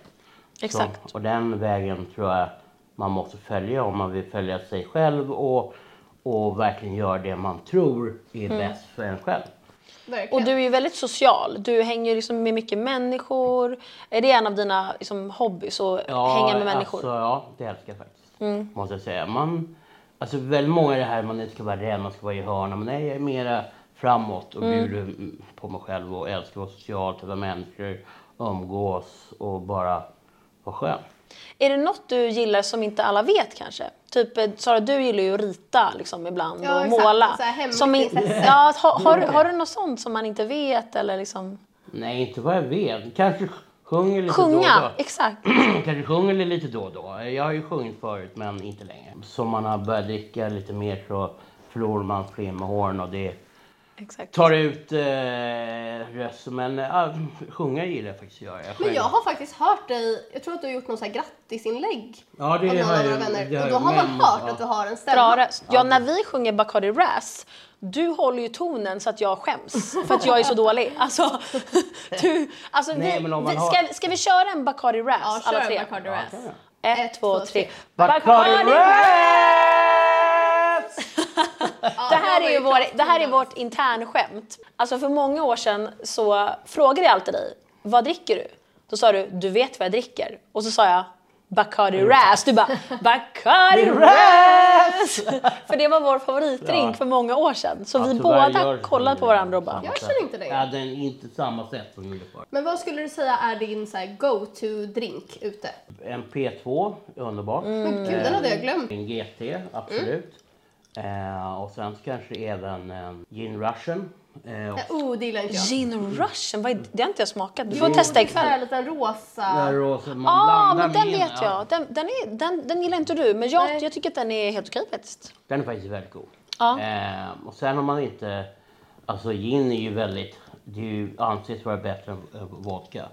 Speaker 1: Exakt.
Speaker 4: Så, och den vägen tror jag man måste följa om man vill följa sig själv och, och verkligen göra det man tror är
Speaker 1: Mm.
Speaker 4: bäst för en själv.
Speaker 2: Verkligen.
Speaker 1: Och du är ju väldigt social. Du hänger ju liksom med mycket människor. Är det en av dina liksom, hobbys att hänga med människor? Mm.
Speaker 4: Alltså, ja, det älskar jag faktiskt. Måste jag säga. Man, alltså, väldigt många är det här man inte ska vara rädd, man ska vara i hörna. Men nej, jag är mera framåt och bjuder mm, på mig själv och älskar att vara social, träffa människor, umgås och bara vara skön.
Speaker 1: Är det något du gillar som inte alla vet kanske? Typ eh, Sara, du gillar ju att rita liksom, ibland
Speaker 2: Ja,
Speaker 1: och
Speaker 2: exakt.
Speaker 1: måla.
Speaker 2: Så här hemligt
Speaker 1: Som i-
Speaker 2: intresse.
Speaker 1: ja, har, har, du- har du något sånt som man inte vet? Eller liksom...
Speaker 4: Nej, inte vad jag vet. Kanske sjunger lite då och
Speaker 1: Sjunga,
Speaker 4: då.
Speaker 1: exakt.
Speaker 4: Kanske sjunger det lite då och då. Jag har ju sjungit förut men inte längre. Så man har börjat dricka lite mer så förlorar man fler med håren och det
Speaker 1: exakt.
Speaker 4: tar ut eh, rösten. Men eh, sjunga gillar jag faktiskt att göra. Jag
Speaker 2: Men
Speaker 4: själv.
Speaker 2: jag har faktiskt hört dig, jag tror att du har gjort någon så här grattisinlägg
Speaker 4: Ja, det
Speaker 2: av någon
Speaker 4: har
Speaker 2: av
Speaker 4: jag-
Speaker 2: våra
Speaker 4: det
Speaker 2: vänner.
Speaker 4: har
Speaker 2: Och då
Speaker 4: jag-
Speaker 2: har man
Speaker 4: men-
Speaker 2: hört
Speaker 4: ja.
Speaker 2: att du har en
Speaker 1: Bra
Speaker 2: stämma.
Speaker 1: röst. Ja, när vi sjunger Bacardi Ras, du håller ju tonen så att jag skäms för att jag är så dålig. Alltså, du, alltså
Speaker 4: Nej,
Speaker 1: vi,
Speaker 4: men om man
Speaker 1: vi,
Speaker 4: har-
Speaker 1: ska, ska vi köra en Bacardi Ras
Speaker 2: Ja,
Speaker 1: alla
Speaker 2: kör
Speaker 1: tre?
Speaker 2: Bacardi Ras.
Speaker 1: Ett, två, tre.
Speaker 4: Bacardi Ras!
Speaker 1: Det här
Speaker 2: var
Speaker 1: är ju
Speaker 2: ju
Speaker 1: vår, det här är vårt internskämt. Alltså för många år sedan så frågade jag alltid dig, vad dricker du? Då sa du, du vet vad jag dricker. Och så sa jag, Bacardi Ras. Du bara, Bacardi Ras! För det var vår favoritdrink
Speaker 4: Ja.
Speaker 1: för många år sedan. Så vi
Speaker 4: Ja, tyvärr
Speaker 1: båda
Speaker 4: gör
Speaker 1: kollade på varandra och bara,
Speaker 4: samma
Speaker 2: Jag
Speaker 4: sätt.
Speaker 2: känner inte det.
Speaker 4: Ja, den är inte samma sätt som vi gjorde förr.
Speaker 2: Men vad skulle du säga är din så här go-to-drink ute?
Speaker 4: En P2, underbart.
Speaker 2: Men
Speaker 1: Mm.
Speaker 2: gud, den hade jag glömt.
Speaker 4: En GT, absolut.
Speaker 2: Mm.
Speaker 4: Eh, och sen kanske även eh, Gin Russian. Eh, och
Speaker 2: Nej, oh, det gillar inte jag.
Speaker 1: gin russian, vad är det? det har inte jag smakat. Du får testa
Speaker 2: Så här en
Speaker 1: ikväll.
Speaker 2: liten
Speaker 4: där
Speaker 2: rosa.
Speaker 4: och så man
Speaker 1: Ja,
Speaker 4: blandar
Speaker 1: men den
Speaker 4: med-
Speaker 1: vet
Speaker 4: Ja,
Speaker 1: jag. Den, den, är, den, den gillar inte du, men jag,
Speaker 2: Nej.
Speaker 1: jag tycker att den är helt okej faktiskt.
Speaker 4: den är faktiskt väldigt god.
Speaker 1: Ja.
Speaker 4: Eh, och sen om man inte...
Speaker 1: Mm.
Speaker 4: Alltså gin är ju väldigt... Det är ju anses vara bättre än eh, vodka.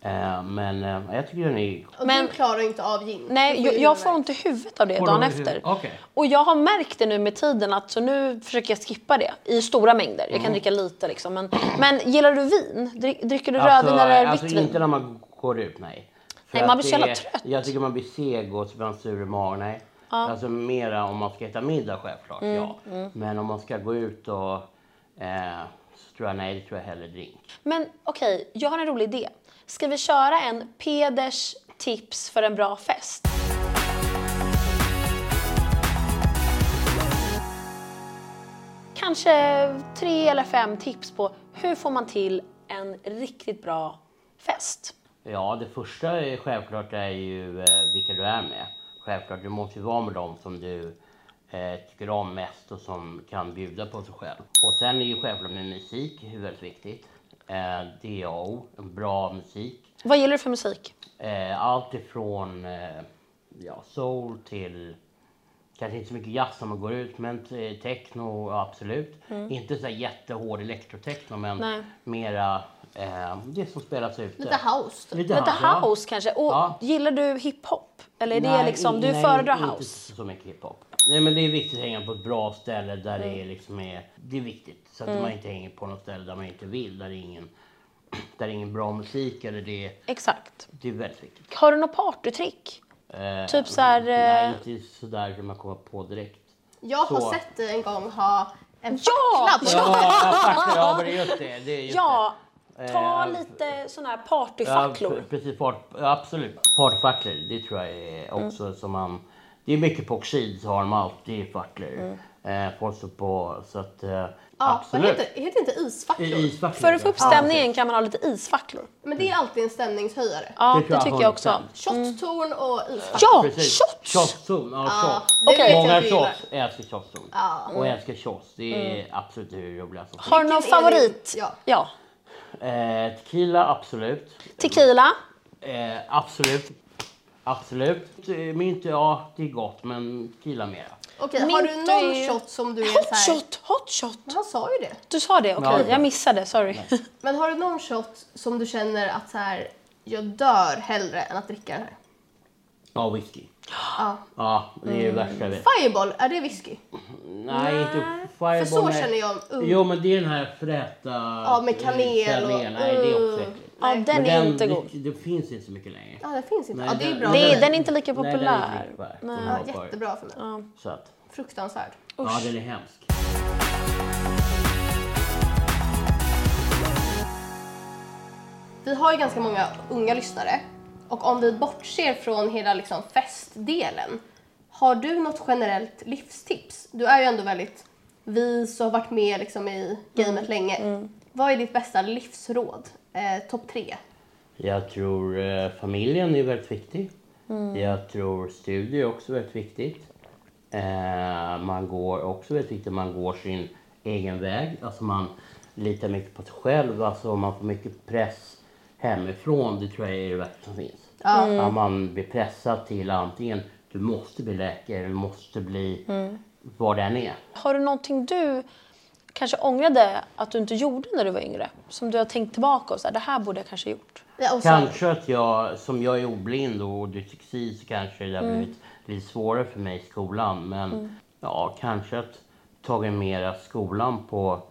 Speaker 4: Eh, men eh, jag tycker den är...
Speaker 2: Och
Speaker 1: Men-
Speaker 2: du klarar ju inte av gin. Du
Speaker 1: Nej, jag,
Speaker 2: ju
Speaker 1: jag får
Speaker 2: huvudvärk.
Speaker 1: ont i huvudet av det
Speaker 4: Får du
Speaker 1: dagen
Speaker 4: ont i
Speaker 1: efter.
Speaker 4: huvudet? Okej.
Speaker 1: Och jag har märkt det nu med tiden, att, så nu försöker jag skippa det i stora mängder. Jag kan
Speaker 4: Mm.
Speaker 1: dricka lite liksom. Men, men gillar du vin? Drick, dricker du rödvin eller vitt
Speaker 4: alltså,
Speaker 1: vin?
Speaker 4: inte när man går ut, nej. För
Speaker 1: Nej, man
Speaker 4: att
Speaker 1: blir så
Speaker 4: det
Speaker 1: jävla trött.
Speaker 4: Jag tycker man blir seg och så blir man sur i magen, nej. Alltså mera om man ska äta middag självklart,
Speaker 1: Mm,
Speaker 4: ja. Men om man ska gå ut och... Eh, så tror jag, nej, det tror jag hellre drink.
Speaker 1: Men okej, jag har en rolig idé. Ska vi köra en Peders tips för en bra fest? Kanske tre eller fem tips på hur får man till en riktigt bra fest?
Speaker 4: Ja, det första är självklart är ju eh, vilka du är med. Självklart, du måste ju vara med dem som du eh, tycker om mest och som kan bjuda på sig själv. Och sen är ju självklart med musik väldigt viktigt. Eh, det är A och O, en bra musik.
Speaker 1: Vad gillar du för musik?
Speaker 4: Eh, allt ifrån eh, ja, soul till kanske inte så mycket jazz som man går ut men eh, techno ja, absolut. Inte så här jättehård elektrotechno
Speaker 1: Mm.
Speaker 4: men
Speaker 1: Nej.
Speaker 4: mera eh, det som spelas ute.
Speaker 2: Lite house typ.
Speaker 4: Lite
Speaker 1: Lite
Speaker 4: house, ja.
Speaker 1: house kanske? Och
Speaker 4: Ja.
Speaker 1: gillar du hiphop? Eller är det liksom, du
Speaker 4: nej,
Speaker 1: föredrar
Speaker 4: inte
Speaker 1: house?
Speaker 4: så mycket hiphop. Nej men det är viktigt att hänga på ett bra ställe där
Speaker 1: Mm.
Speaker 4: det är liksom är, det är viktigt. Så att man inte hänger på något ställe där man inte vill, där det är ingen, där det är ingen bra musik eller det,
Speaker 1: Exakt.
Speaker 4: det är väldigt viktigt.
Speaker 1: Har du något partytrick?
Speaker 4: Eh,
Speaker 1: Typ så här, eh,
Speaker 4: Nej, inte sådär som man kommer på direkt.
Speaker 2: Jag har
Speaker 4: Så.
Speaker 2: sett dig en gång ha en
Speaker 1: Ja!
Speaker 2: fackla på
Speaker 4: Ja, faktiskt. Ja, men det är just det. det är just
Speaker 1: Ah! Ja,
Speaker 4: det.
Speaker 1: ta
Speaker 4: Eh,
Speaker 1: lite sådana här
Speaker 4: ja,
Speaker 1: partyfacklor.
Speaker 4: p- precis, part, ja, absolut. Partfacklor, det tror jag är
Speaker 1: Mm.
Speaker 4: också som man... Det är mycket på oxid så har de alltid facklor.
Speaker 1: Mm.
Speaker 4: Eh, folk står på, så att... Eh,
Speaker 2: Ja, vad
Speaker 4: absolut.
Speaker 2: heter, heter inte isfacklor?
Speaker 4: I- isfacklor,
Speaker 1: För att få
Speaker 4: ja.
Speaker 1: upp stämningen kan man ha lite isfacklor.
Speaker 2: Men det är alltid en stämningshöjare.
Speaker 1: Ja,
Speaker 4: Det tror
Speaker 1: det
Speaker 4: jag
Speaker 1: tycker jag också.
Speaker 4: 100%.
Speaker 2: Shottorn och isfacklor.
Speaker 1: Ja,
Speaker 4: Precis.
Speaker 1: shots!
Speaker 4: Shotzon, ja, shots.
Speaker 2: det
Speaker 1: Okej.
Speaker 2: vet jag
Speaker 4: Många
Speaker 2: att du gillar. Mm.
Speaker 4: shots älskar shotzon. Och älskar shots. Det är absolut det roligaste som
Speaker 1: Har du någon
Speaker 2: Vilken är din-
Speaker 1: favorit?
Speaker 2: Ja.
Speaker 1: ja.
Speaker 4: finns. eh, Tequila, absolut.
Speaker 1: Tequila?
Speaker 4: Eh, absolut. Absolut. Eh, Mynt, ja det är gott men killa mera.
Speaker 2: Okej, har du
Speaker 1: Mint
Speaker 2: någon
Speaker 1: är-
Speaker 2: shot som du är
Speaker 1: Hot
Speaker 2: så här...
Speaker 1: shot, hot shot.
Speaker 2: Men Han sa ju det.
Speaker 1: Du sa det, okej.
Speaker 4: Ja, okej.
Speaker 1: Jag missade, sorry.
Speaker 2: Men har du någon shot som du känner att så här, jag dör hellre än att dricka det här?
Speaker 4: Ja, whisky.
Speaker 2: Ja.
Speaker 4: Ja, det är
Speaker 2: Mm.
Speaker 4: det värsta jag vet.
Speaker 2: Fireball, är det whisky?
Speaker 4: Nej, inte
Speaker 2: För
Speaker 4: fireball.
Speaker 2: så
Speaker 4: nej.
Speaker 2: känner jag om ung.
Speaker 4: Jo, men det är den här fräta... Ja,
Speaker 2: med kanel och- Mm.
Speaker 4: Nej, det är också äckligt.
Speaker 1: Ja,
Speaker 2: Nej.
Speaker 1: den
Speaker 4: Men
Speaker 1: är inte
Speaker 4: det,
Speaker 1: god.
Speaker 4: Det finns inte så mycket längre.
Speaker 2: Ja, det finns inte.
Speaker 4: Nej,
Speaker 2: ja, det är
Speaker 4: den-
Speaker 2: bra.
Speaker 1: Det är,
Speaker 2: för
Speaker 1: den
Speaker 2: mig.
Speaker 1: är inte lika
Speaker 4: Nej,
Speaker 1: populär.
Speaker 4: den är
Speaker 2: Ja,
Speaker 4: nej.
Speaker 2: jättebra för mig.
Speaker 4: Så att,
Speaker 2: Fruktansvärd.
Speaker 4: ja, den är hemsk.
Speaker 2: Vi har ju ganska många unga lyssnare och om vi bortser från hela liksom festdelen, har du något generellt livstips? Du är ju ändå väldigt vis och har varit med liksom i gamet länge. Vad är ditt bästa livsråd? Eh, Topp tre?
Speaker 4: Jag tror eh, familjen är väldigt viktig.
Speaker 1: Mm.
Speaker 4: Jag tror studier är också väldigt viktigt. Eh, man går också väldigt viktigt, man går sin egen väg. Alltså man litar mycket på sig själv, alltså man får mycket press hemifrån. Det tror jag är det värsta som finns.
Speaker 2: Ja.
Speaker 1: Mm.
Speaker 4: Att man blir pressad till antingen du måste bli läkare, du måste bli
Speaker 1: Mm.
Speaker 4: vad det än är.
Speaker 1: Har du någonting du kanske ångrade att du inte gjorde när du var yngre? Som du har tänkt tillbaka och så här, det här borde jag kanske ha gjort.
Speaker 2: Ja, och sen,
Speaker 4: Kanske att jag, som jag är oblind och dyslexi så kanske det har
Speaker 2: Mm.
Speaker 4: blivit lite svårare för mig i skolan. Men ja, kanske att tagit mera skolan på,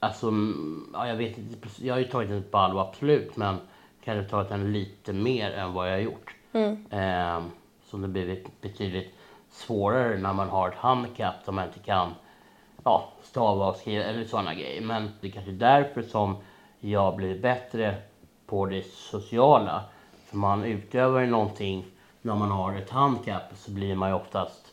Speaker 4: alltså mm, ja, jag vet inte, jag har ju tagit den på allvar absolut men kanske tagit den lite mer än vad jag har gjort.
Speaker 1: Mm.
Speaker 4: Ehm, så det blivit betydligt svårare när man har ett handikapp som man inte kan ja, stava och skriva eller sådana grejer. Men det är kanske är därför som jag blir bättre på det sociala. För man utövar ju någonting när man har ett handikapp så blir man ju oftast...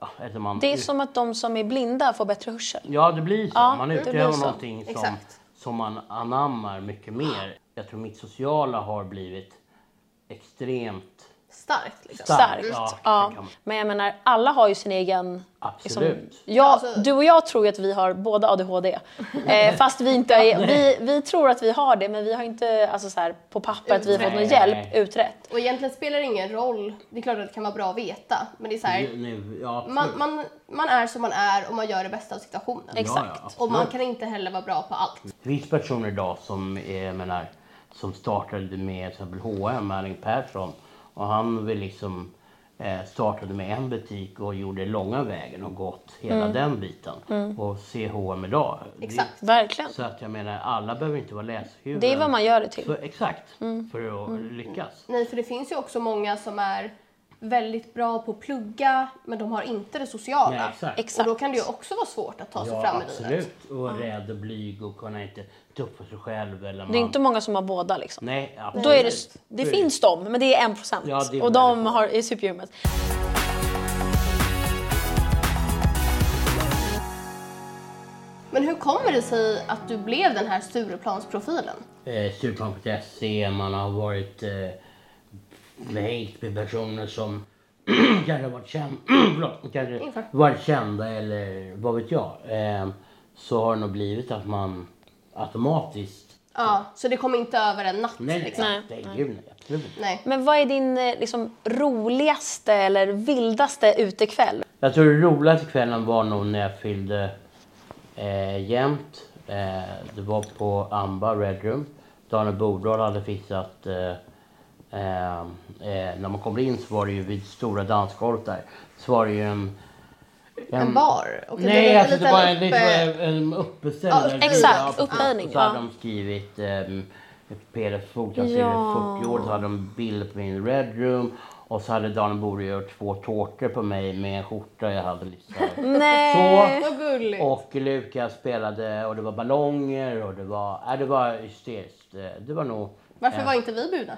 Speaker 4: Ja, eller man
Speaker 1: Det är som att de som är blinda får bättre hörsel.
Speaker 4: ja det blir så.
Speaker 1: Ja,
Speaker 4: man
Speaker 1: det
Speaker 4: utövar
Speaker 1: blir så.
Speaker 4: någonting som,
Speaker 2: Exakt.
Speaker 4: som man anammar mycket mer. Jag tror mitt sociala har blivit extremt...
Speaker 2: starkt liksom.
Speaker 4: Starkt.
Speaker 1: starkt.
Speaker 4: Ja,
Speaker 1: Ja,
Speaker 4: det kan man.
Speaker 1: Men jag menar, alla har ju sin egen... liksom-
Speaker 4: Absolut.
Speaker 1: ja,
Speaker 2: Alltså-
Speaker 1: du och jag tror ju att vi har båda ADHD. Eh, fast vi inte är, vi, vi tror att vi har det, men vi har inte alltså, så här, på pappret vi har fått någon
Speaker 4: Nej.
Speaker 1: hjälp utrett.
Speaker 2: Och egentligen spelar det ingen roll. Det är klart att det kan vara bra att veta, men det är så här,
Speaker 4: Nu, ja, absolut.
Speaker 2: man, man, man är som man är och man gör det bästa av situationen.
Speaker 1: Exakt.
Speaker 4: absolut. Mm.
Speaker 2: Och man kan inte heller vara bra på allt.
Speaker 4: Det finns personer idag som är, jag menar, som startade med till exempel H&M, Erling Persson. Och han vill liksom eh, startade med en butik och gjorde långa vägen och gått hela
Speaker 1: Mm.
Speaker 4: den biten. Och se H&M idag. Det-
Speaker 2: Exakt.
Speaker 1: Verkligen.
Speaker 4: Så att jag menar, alla behöver inte vara läshuvuden.
Speaker 1: Det är vad man gör det till.
Speaker 4: För, exakt,
Speaker 1: Mm.
Speaker 4: för att lyckas.
Speaker 2: Nej, för det finns ju också många som är väldigt bra på att plugga men de har inte det sociala.
Speaker 4: Nej, exakt.
Speaker 2: Och då kan det ju också vara svårt att ta sig fram i livet.
Speaker 4: absolut. Och rädd och blyg och kunna inte tuffa sig själv. Eller man...
Speaker 1: Det är inte många som har båda liksom.
Speaker 4: Nej, absolut.
Speaker 1: Då är det, det finns de, men det är en procent.
Speaker 4: Ja, det är
Speaker 1: och de
Speaker 4: väldigt få.
Speaker 1: har, är superhumans.
Speaker 2: Men hur kommer det sig att du blev den här Stureplansprofilen?
Speaker 4: Eh, Stureplanet.se, man har varit eh, hängt med personer som kanske har varit, känd, förlåt, kanske
Speaker 2: Inför.
Speaker 4: varit kända eller vad vet jag. Eh, så har det nog blivit att man automatiskt...
Speaker 2: Ja, så det kom inte över en natt
Speaker 4: Nej,
Speaker 2: liksom?
Speaker 4: nej, nej, gud nej. absolut inte.
Speaker 2: Nej.
Speaker 1: Men vad är din eh, liksom, roligaste eller vildaste utekväll?
Speaker 4: Jag tror det roligaste kvällen var nog när jag fyllde eh, jämnt. Eh, det var på Amba Red Room. Daniel Bordahl hade fixat... Eh, eh, eh, när man kommer in så var det ju vid stora dansgolvet där. Så var det ju en...
Speaker 2: En bar? Och en
Speaker 4: Mm. Nej,
Speaker 2: liten-
Speaker 4: alltså det var en,
Speaker 2: liten
Speaker 4: det
Speaker 2: uppe-
Speaker 4: var en uppeställd...
Speaker 2: Ja,
Speaker 4: där.
Speaker 1: exakt,
Speaker 4: Ja,
Speaker 1: upphöjning,
Speaker 4: Och så hade
Speaker 1: ja.
Speaker 4: de skrivit ehm, Peder Fogh, han
Speaker 1: Ja.
Speaker 4: ja. 40 år, så hade de en bild på min Red Room. Och så hade Dan Bore gjort två tårtor på mig med en skjorta jag hade lite så här-
Speaker 1: Nej.
Speaker 2: Vad gulligt.
Speaker 4: och Lukas spelade och det var ballonger och det var, äh, det var hysteriskt. Eh, Det var nog...
Speaker 2: Varför
Speaker 4: eh,
Speaker 2: var inte vi bjudna?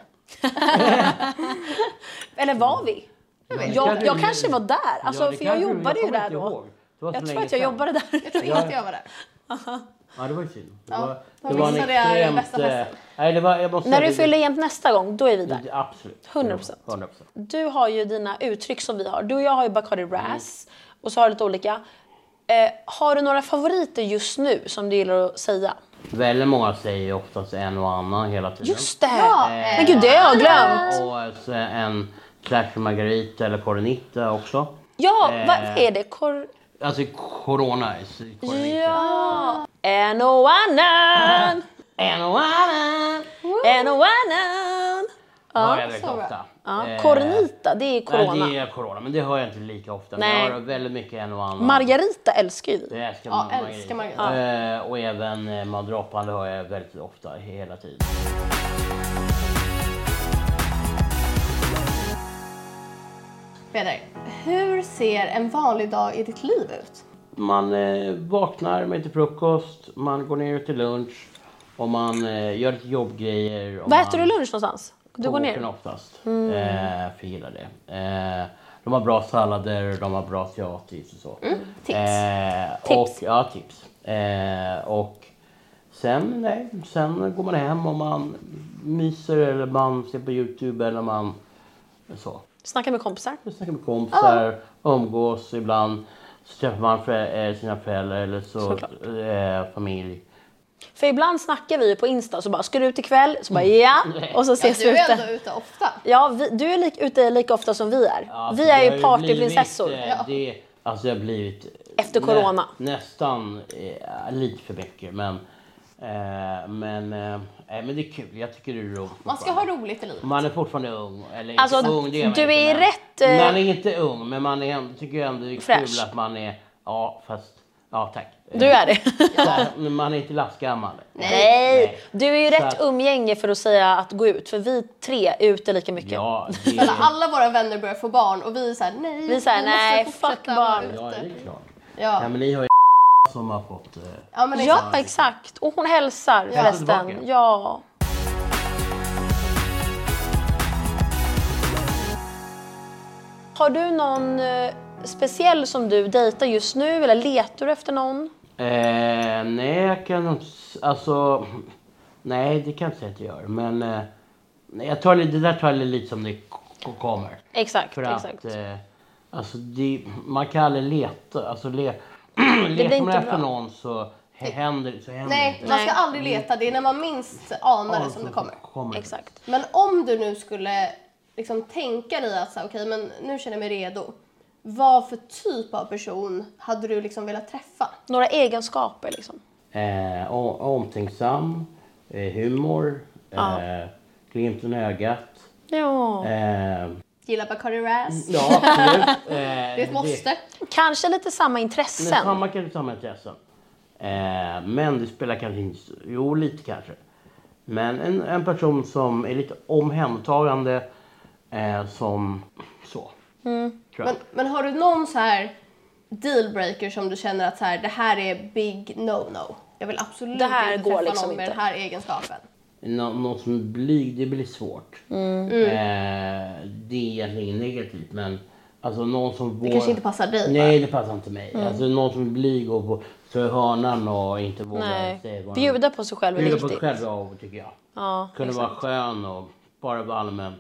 Speaker 1: Eller var vi?
Speaker 4: vet
Speaker 1: Jag,
Speaker 4: inte.
Speaker 1: jag kanske var där. Alltså,
Speaker 4: det
Speaker 1: för jag
Speaker 4: kanske du-
Speaker 1: jobbade ju
Speaker 4: kommer
Speaker 1: där
Speaker 4: inte
Speaker 1: då.
Speaker 4: ihåg. Det var så
Speaker 1: Jag tror
Speaker 4: länge
Speaker 1: att jag
Speaker 4: sedan.
Speaker 1: jobbade där.
Speaker 2: Jag tror inte jag var där.
Speaker 4: Ja, det var ju synd. Det
Speaker 2: Ja,
Speaker 4: var,
Speaker 2: då
Speaker 4: det var en
Speaker 2: missade jag den
Speaker 4: extremt...
Speaker 2: bästa
Speaker 4: eh,
Speaker 2: festen.
Speaker 4: Nej, det var, jag måste
Speaker 1: När
Speaker 4: säga
Speaker 1: du
Speaker 4: det-
Speaker 1: fyller jämnt nästa gång, då är vi där.
Speaker 4: det- Absolut.
Speaker 1: 100%.
Speaker 4: 100%.
Speaker 1: Du har ju dina uttryck som vi har. Du och jag har ju Bacardi
Speaker 4: Mm.
Speaker 1: Ras och så har du lite olika. Eh, har du några favoriter just nu som du gillar att säga?
Speaker 4: Väldigt många säger ju oftast en och annan hela tiden.
Speaker 1: Just det!
Speaker 2: Ja,
Speaker 1: Men gud, det har jag glömt.
Speaker 4: Och så en Clash Margarita eller Coronita också.
Speaker 1: Ja,
Speaker 4: Eh.
Speaker 1: vad är det? Kor...
Speaker 4: Alltså Corona. så Coronita.
Speaker 1: Ja! En och annan!
Speaker 4: En och annan
Speaker 1: En och annan!
Speaker 4: hör jag väldigt
Speaker 2: så bra.
Speaker 4: ofta.
Speaker 1: Ja,
Speaker 4: Eh,
Speaker 1: Coronita, det är corona.
Speaker 4: Nej, det är corona, men det hör jag inte lika ofta.
Speaker 1: Nej.
Speaker 4: Men jag hör väldigt mycket en och annan.
Speaker 1: Margarita älskar ju vi.
Speaker 4: jag älskar
Speaker 2: Ja,
Speaker 4: Margarita.
Speaker 2: älskar Margarita.
Speaker 4: Eh, och även eh, Madroppande hör jag väldigt ofta, hela tiden.
Speaker 2: Peder, hur ser en vanlig dag i ditt liv ut?
Speaker 4: Man eh, vaknar, man äter frukost, man går ner till lunch och man eh, gör lite jobbgrejer. och
Speaker 1: Vad
Speaker 4: man...
Speaker 1: äter du lunch någonstans? Du går
Speaker 4: Tårtorna
Speaker 1: ner? Mm.
Speaker 4: oftast. Eh, för jag gillar det. Eh, de har bra sallader, de har bra asiatiskt och så.
Speaker 2: tips.
Speaker 4: Eh, och,
Speaker 1: Mm, Tips.
Speaker 4: Ja, tips. Eh, och sen, nej, sen går man hem och man myser eller man ser på Youtube eller man så.
Speaker 1: Snacka med kompisar?
Speaker 4: Man snackar med kompisar, umgås ibland. Så träffar man frä, eh, sina föräldrar eller så,
Speaker 1: Såklart.
Speaker 4: eh, familj.
Speaker 1: För ibland snackar vi ju på Insta så bara, ska du ut ikväll? Så bara, ja! Och så ses
Speaker 2: Du
Speaker 1: vi
Speaker 2: är ändå
Speaker 1: ute.
Speaker 2: ute ofta.
Speaker 1: Ja, vi, du är lik, ute lika ofta som vi är.
Speaker 4: Ja,
Speaker 1: vi
Speaker 4: för
Speaker 1: är
Speaker 4: det Alltså, har
Speaker 1: ju partyprinsessor.
Speaker 4: blivit, eh,
Speaker 2: Ja.
Speaker 4: Det, alltså det har blivit...
Speaker 1: Efter corona.
Speaker 4: Nä, nästan eh, lite för mycket. Men, eh, men, eh, nej, men det är kul. Jag tycker det är roligt.
Speaker 2: Man ska ha roligt i livet.
Speaker 4: Man är fortfarande ung. Eller
Speaker 1: Alltså,
Speaker 4: inte ung, det är man
Speaker 1: du
Speaker 4: inte,
Speaker 1: är
Speaker 4: men-
Speaker 1: rätt, eh,
Speaker 4: Man är inte ung, men man är, ändå- tycker jag ändå det är
Speaker 1: Fräsch.
Speaker 4: kul att man är... Ja, fast... Ja, tack.
Speaker 1: Du är det?
Speaker 4: är... Man är inte lastgammal.
Speaker 1: Nej! Du är ju
Speaker 4: Så
Speaker 1: rätt
Speaker 4: att-
Speaker 1: umgänge för att säga att gå ut, för vi tre är ute lika mycket.
Speaker 4: Ja, det
Speaker 2: Alla,
Speaker 4: är...
Speaker 2: alla våra vänner börjar få barn och vi är såhär nej,
Speaker 1: Vi är så här,
Speaker 2: måste
Speaker 1: nej,
Speaker 2: fortsätta
Speaker 1: fuck
Speaker 2: vara
Speaker 1: barn.
Speaker 2: ute.
Speaker 4: Ja, det är klart. Ja,
Speaker 2: Ja,
Speaker 4: men ni har ju som har fått... Eh,
Speaker 2: ja men
Speaker 1: Ja,
Speaker 2: exakt.
Speaker 1: exakt. Och hon hälsar förresten.
Speaker 4: tillbaka.
Speaker 1: Ja. Har du någon eh, speciell som du dejtar just nu eller letar du efter någon?
Speaker 4: Eh, nej, jag kan nog... s- Alltså... Nej, det kan jag inte säga att jag gör. Men eh, nej, jag tar, lite- det där tar jag lite som det k- kommer.
Speaker 1: Exakt,
Speaker 4: För
Speaker 1: exakt.
Speaker 4: att... Eh, alltså, det, man kan aldrig leta. Alltså, le,
Speaker 1: blir
Speaker 4: letar man
Speaker 1: inte
Speaker 4: efter
Speaker 1: bra.
Speaker 4: någon så he- händer så händer
Speaker 2: Nej,
Speaker 4: det
Speaker 2: man
Speaker 1: Mm. Nej.
Speaker 2: ska aldrig leta. Det är när man minst anar det som det kommer.
Speaker 1: exakt.
Speaker 2: Men om du nu skulle liksom tänka dig att så här, okej, men nu känner jag mig redo. Vad för typ av person hade du liksom velat träffa?
Speaker 1: Några egenskaper liksom.
Speaker 4: Eh, o- omtänksam, eh, humor,
Speaker 1: Ja.
Speaker 4: Eh, glimten i ögat.
Speaker 1: Ja.
Speaker 4: Eh,
Speaker 2: Gillar Bacardi Razz.
Speaker 4: ja, absolut. Eh, Mm. det är
Speaker 2: Det är ett måste.
Speaker 1: Kanske lite samma
Speaker 4: Men
Speaker 1: intressen.
Speaker 4: samma kanske samma intressen. Eh, men det spelar kanske inte... så- Jo, lite kanske. Men en, en person som är lite omhändertagande eh, som så. Tror jag.
Speaker 2: Men, men har du någon så här dealbreaker som du känner att så här, det här är big no-no? Jag vill absolut
Speaker 1: Det här går
Speaker 2: inte träffa
Speaker 1: liksom
Speaker 2: någon med
Speaker 1: inte.
Speaker 2: den här egenskapen.
Speaker 4: Nå- någon som är blyg, det blir svårt.
Speaker 2: Mm.
Speaker 4: Eh, det är egentligen negativt men alltså någon som vågar...
Speaker 2: kanske inte passar dig, Mm.
Speaker 4: Nej, det passar inte mig. Alltså någon som är blyg och på- står i hörnan och inte vågar säga
Speaker 1: Nej.
Speaker 4: vad
Speaker 1: Bjuda på sig själv är
Speaker 4: Bjuda på sig
Speaker 1: viktigt.
Speaker 4: själv av, tycker jag.
Speaker 1: Ja,
Speaker 4: Kunna vara skön och bara vara allmänt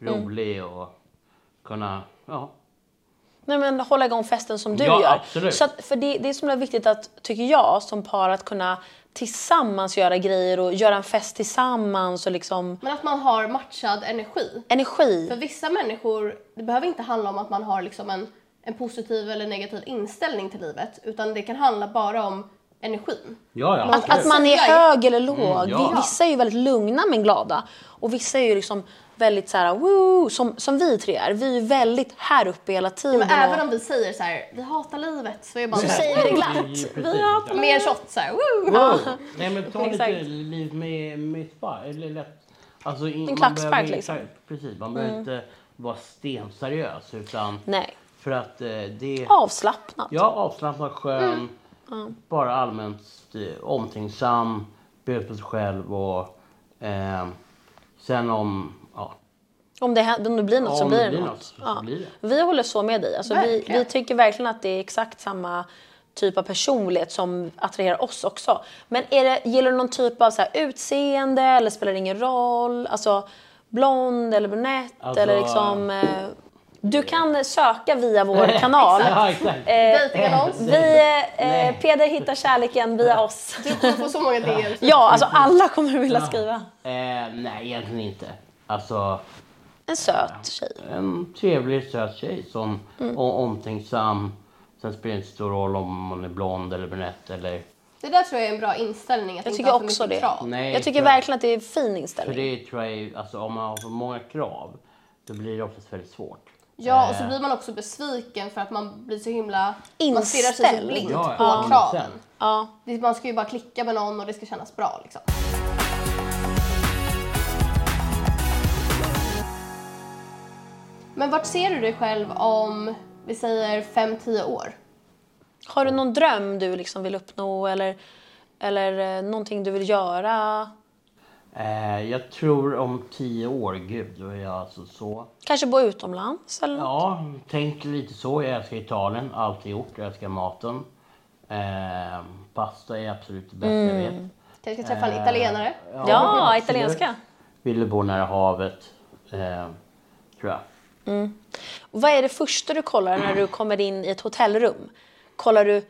Speaker 2: Mm.
Speaker 4: rolig och kunna... Ja.
Speaker 1: Nej, men hålla igång festen som du
Speaker 4: Ja,
Speaker 1: gör.
Speaker 4: absolut.
Speaker 1: Så att, för det, det är så himla viktigt att, tycker jag, som par att kunna tillsammans göra grejer och göra en fest tillsammans och liksom
Speaker 2: Men att man har matchad energi. För
Speaker 1: energi.
Speaker 2: vissa människor, det behöver inte handla om att man har liksom en, en positiv eller negativ inställning till livet utan det kan handla bara om energin.
Speaker 4: Ja, ja.
Speaker 1: Att,
Speaker 2: Alltså,
Speaker 1: att man är
Speaker 2: Jag är-
Speaker 1: hög eller låg.
Speaker 4: Mm, ja.
Speaker 1: Vissa är ju väldigt lugna men glada. Och vissa är ju liksom väldigt så här, woo, som, som vi tre är. Vi är ju väldigt här uppe hela tiden.
Speaker 2: Men
Speaker 1: och-
Speaker 2: även om vi säger så här, vi hatar livet så är man
Speaker 1: så
Speaker 2: så
Speaker 1: säger
Speaker 2: här,
Speaker 1: vi det
Speaker 4: Precis.
Speaker 1: glatt. Vi hatar
Speaker 2: liksom. mer shot så här, woo!
Speaker 4: Wow. Nej men ta
Speaker 1: Exakt.
Speaker 4: lite liv med, med spark, eller lätt. Alltså, in, man
Speaker 1: klackspark,
Speaker 4: behöver inte-
Speaker 1: liksom.
Speaker 4: Precis, man behöver inte vara stenseriös utan
Speaker 1: Nej.
Speaker 4: för att eh, det...
Speaker 1: Avslappnat.
Speaker 4: Ja, avslappnad, skön,
Speaker 1: Mm.
Speaker 4: bara allmänt eh, omtänksam, bjuda på sig själv och eh, sen om... Ja,
Speaker 1: Om, det, hä- om det blir något
Speaker 4: Ja,
Speaker 1: så
Speaker 4: om
Speaker 1: blir
Speaker 4: det
Speaker 1: det
Speaker 4: blir
Speaker 1: något.
Speaker 4: något så
Speaker 1: ja.
Speaker 4: blir det.
Speaker 1: Vi håller så med dig. Alltså, vi,
Speaker 2: Verkligen.
Speaker 1: vi tycker verkligen att det är exakt samma typ av personlighet som attraherar oss också. Men är det, gäller det någon typ av så här, utseende eller spelar det ingen roll? Alltså blond eller brunett
Speaker 4: Alltså,
Speaker 1: eller liksom... Eh, du kan söka via vår kanal. Eh,
Speaker 4: ja exakt.
Speaker 2: Dejtingannons.
Speaker 1: Vi, eh, Peder hittar kärleken via oss.
Speaker 2: Du kommer få så många DMs.
Speaker 1: Ja, alltså alla kommer vilja skriva.
Speaker 4: Eh, nej, egentligen inte. Alltså,
Speaker 1: En söt tjej.
Speaker 4: en trevlig, söt tjej som
Speaker 2: Mm.
Speaker 4: och omtänksam. Sen spelar det inte stor roll om man är blond eller brunett eller...
Speaker 2: Det där tror jag är en bra inställning, att
Speaker 1: Jag
Speaker 2: inte
Speaker 1: tycker
Speaker 2: ha för
Speaker 1: också det.
Speaker 2: mycket krav.
Speaker 4: Nej,
Speaker 1: Jag tycker
Speaker 4: för-
Speaker 1: verkligen att det är en fin
Speaker 4: För
Speaker 1: inställning.
Speaker 4: det tror jag är, alltså om man har för många krav, då blir det oftast väldigt svårt.
Speaker 2: Ja, och så
Speaker 4: Eh,
Speaker 2: blir man också besviken för att man blir så himla... Man
Speaker 1: Inställd.
Speaker 2: stirrar sig så blint
Speaker 4: Ja,
Speaker 2: på
Speaker 4: ja,
Speaker 2: kraven.
Speaker 4: 100%.
Speaker 1: Ja.
Speaker 2: Det- Man ska ju bara klicka med någon och det ska kännas bra liksom. Men vart ser du dig själv om, vi säger 5-10 år?
Speaker 1: Har du någon dröm du liksom vill uppnå eller, eller eh, någonting du vill göra?
Speaker 4: Eh, jag tror om tio år, gud, då är jag alltså så...
Speaker 1: Kanske bo utomlands? Eller?
Speaker 4: Ja, tänk lite så. Jag älskar Italien, alltid gjort. Jag älskar maten. Eh, pasta är absolut det bästa jag
Speaker 2: Mm.
Speaker 4: vet.
Speaker 2: Kanske ska träffa en
Speaker 4: Eh,
Speaker 2: italienare?
Speaker 1: Ja,
Speaker 4: absolut.
Speaker 1: italienska.
Speaker 4: Ville bo nära havet, eh, tror jag.
Speaker 1: Vad är det första du kollar när du kommer in i ett hotellrum? Kollar du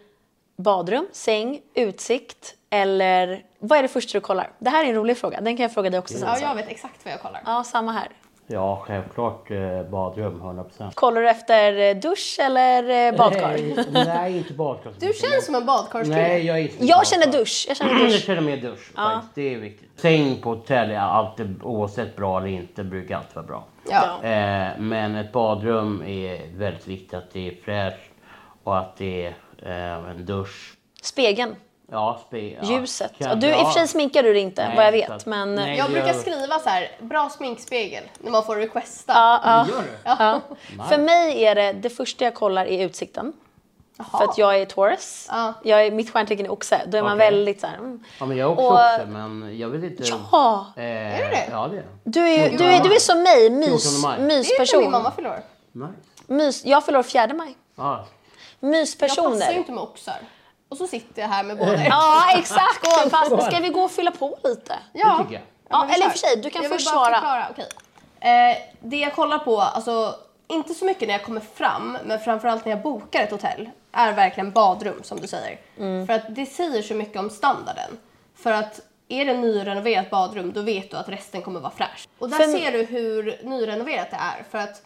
Speaker 1: badrum, säng, utsikt eller vad är det första du kollar? Det här är en rolig fråga. Den kan jag fråga dig också sen.
Speaker 2: Ja,
Speaker 1: så.
Speaker 2: jag vet exakt vad jag kollar.
Speaker 1: ja, samma här.
Speaker 4: Ja, självklart eh, badrum, 100 procent.
Speaker 1: Kollar du efter eh, dusch eller eh, badkar?
Speaker 4: Nej, inte badkar.
Speaker 2: Du känns som en badkarskille.
Speaker 4: Nej, jag är inte
Speaker 1: Jag
Speaker 4: badkar.
Speaker 1: känner dusch. Jag känner
Speaker 4: Jag
Speaker 1: dusch.
Speaker 4: känner mer dusch faktiskt, det är viktigt. Säng på hotell är alltid, oavsett bra eller inte, brukar alltid vara bra.
Speaker 2: Ja.
Speaker 4: Eh, men ett badrum är väldigt viktigt, att det är fräscht och att det är eh, en dusch.
Speaker 1: Spegeln,
Speaker 4: Ja, spe, ja,
Speaker 1: ljuset.
Speaker 4: kanske-
Speaker 1: du, I och för sig
Speaker 4: ja.
Speaker 1: sminkar du dig inte
Speaker 4: Nej,
Speaker 1: vad jag
Speaker 4: så
Speaker 1: vet.
Speaker 4: att-
Speaker 1: Men...
Speaker 4: nej.
Speaker 2: Jag
Speaker 4: det
Speaker 2: brukar
Speaker 4: gör-
Speaker 2: skriva så här, bra sminkspegel, när man får requesta.
Speaker 1: Ja, ja.
Speaker 4: Gör du?
Speaker 1: Ja. För mig är det, det första jag kollar är utsikten. För att jag är Taurus.
Speaker 2: Ja.
Speaker 1: Jag är, mitt stjärntecken är oxe. Då är man
Speaker 4: Okej.
Speaker 1: väldigt så här, mm.
Speaker 4: Ja, men jag är också
Speaker 1: Och- eh,
Speaker 4: oxe, men jag vet inte...
Speaker 1: Ja!
Speaker 2: du
Speaker 4: Eh,
Speaker 2: det?
Speaker 4: Ja, det är jag.
Speaker 1: Du är, ju- du är, du är som mig, mys,
Speaker 4: 14
Speaker 2: Det
Speaker 4: maj.
Speaker 2: är ju när
Speaker 1: mysperson.
Speaker 2: min mamma fyller år.
Speaker 4: Nice.
Speaker 1: Mys, jag förlorar 4 maj.
Speaker 4: Ja,
Speaker 2: Jag passar ju
Speaker 1: Myspersoner.
Speaker 2: inte med oxar. Och så sitter jag här med båda er.
Speaker 1: Ja, exakt! Skål, fast ska vi gå och fylla på lite?
Speaker 2: Ja.
Speaker 4: det tycker jag.
Speaker 2: men
Speaker 1: Ja, eller
Speaker 2: vi
Speaker 1: i
Speaker 2: kör.
Speaker 1: och för sig, du kan
Speaker 2: jag
Speaker 1: först
Speaker 2: vill bara
Speaker 1: svara.
Speaker 2: Förklara. okej. Eh, det jag kollar på, alltså inte så mycket när jag kommer fram, men framförallt när jag bokar ett hotell, är verkligen badrum som du säger.
Speaker 1: Mm.
Speaker 2: För att det säger så mycket om standarden. För att är det nyrenoverat badrum, då vet du att resten kommer vara fräscht. Och där
Speaker 1: För-
Speaker 2: ser du hur nyrenoverat det är. För att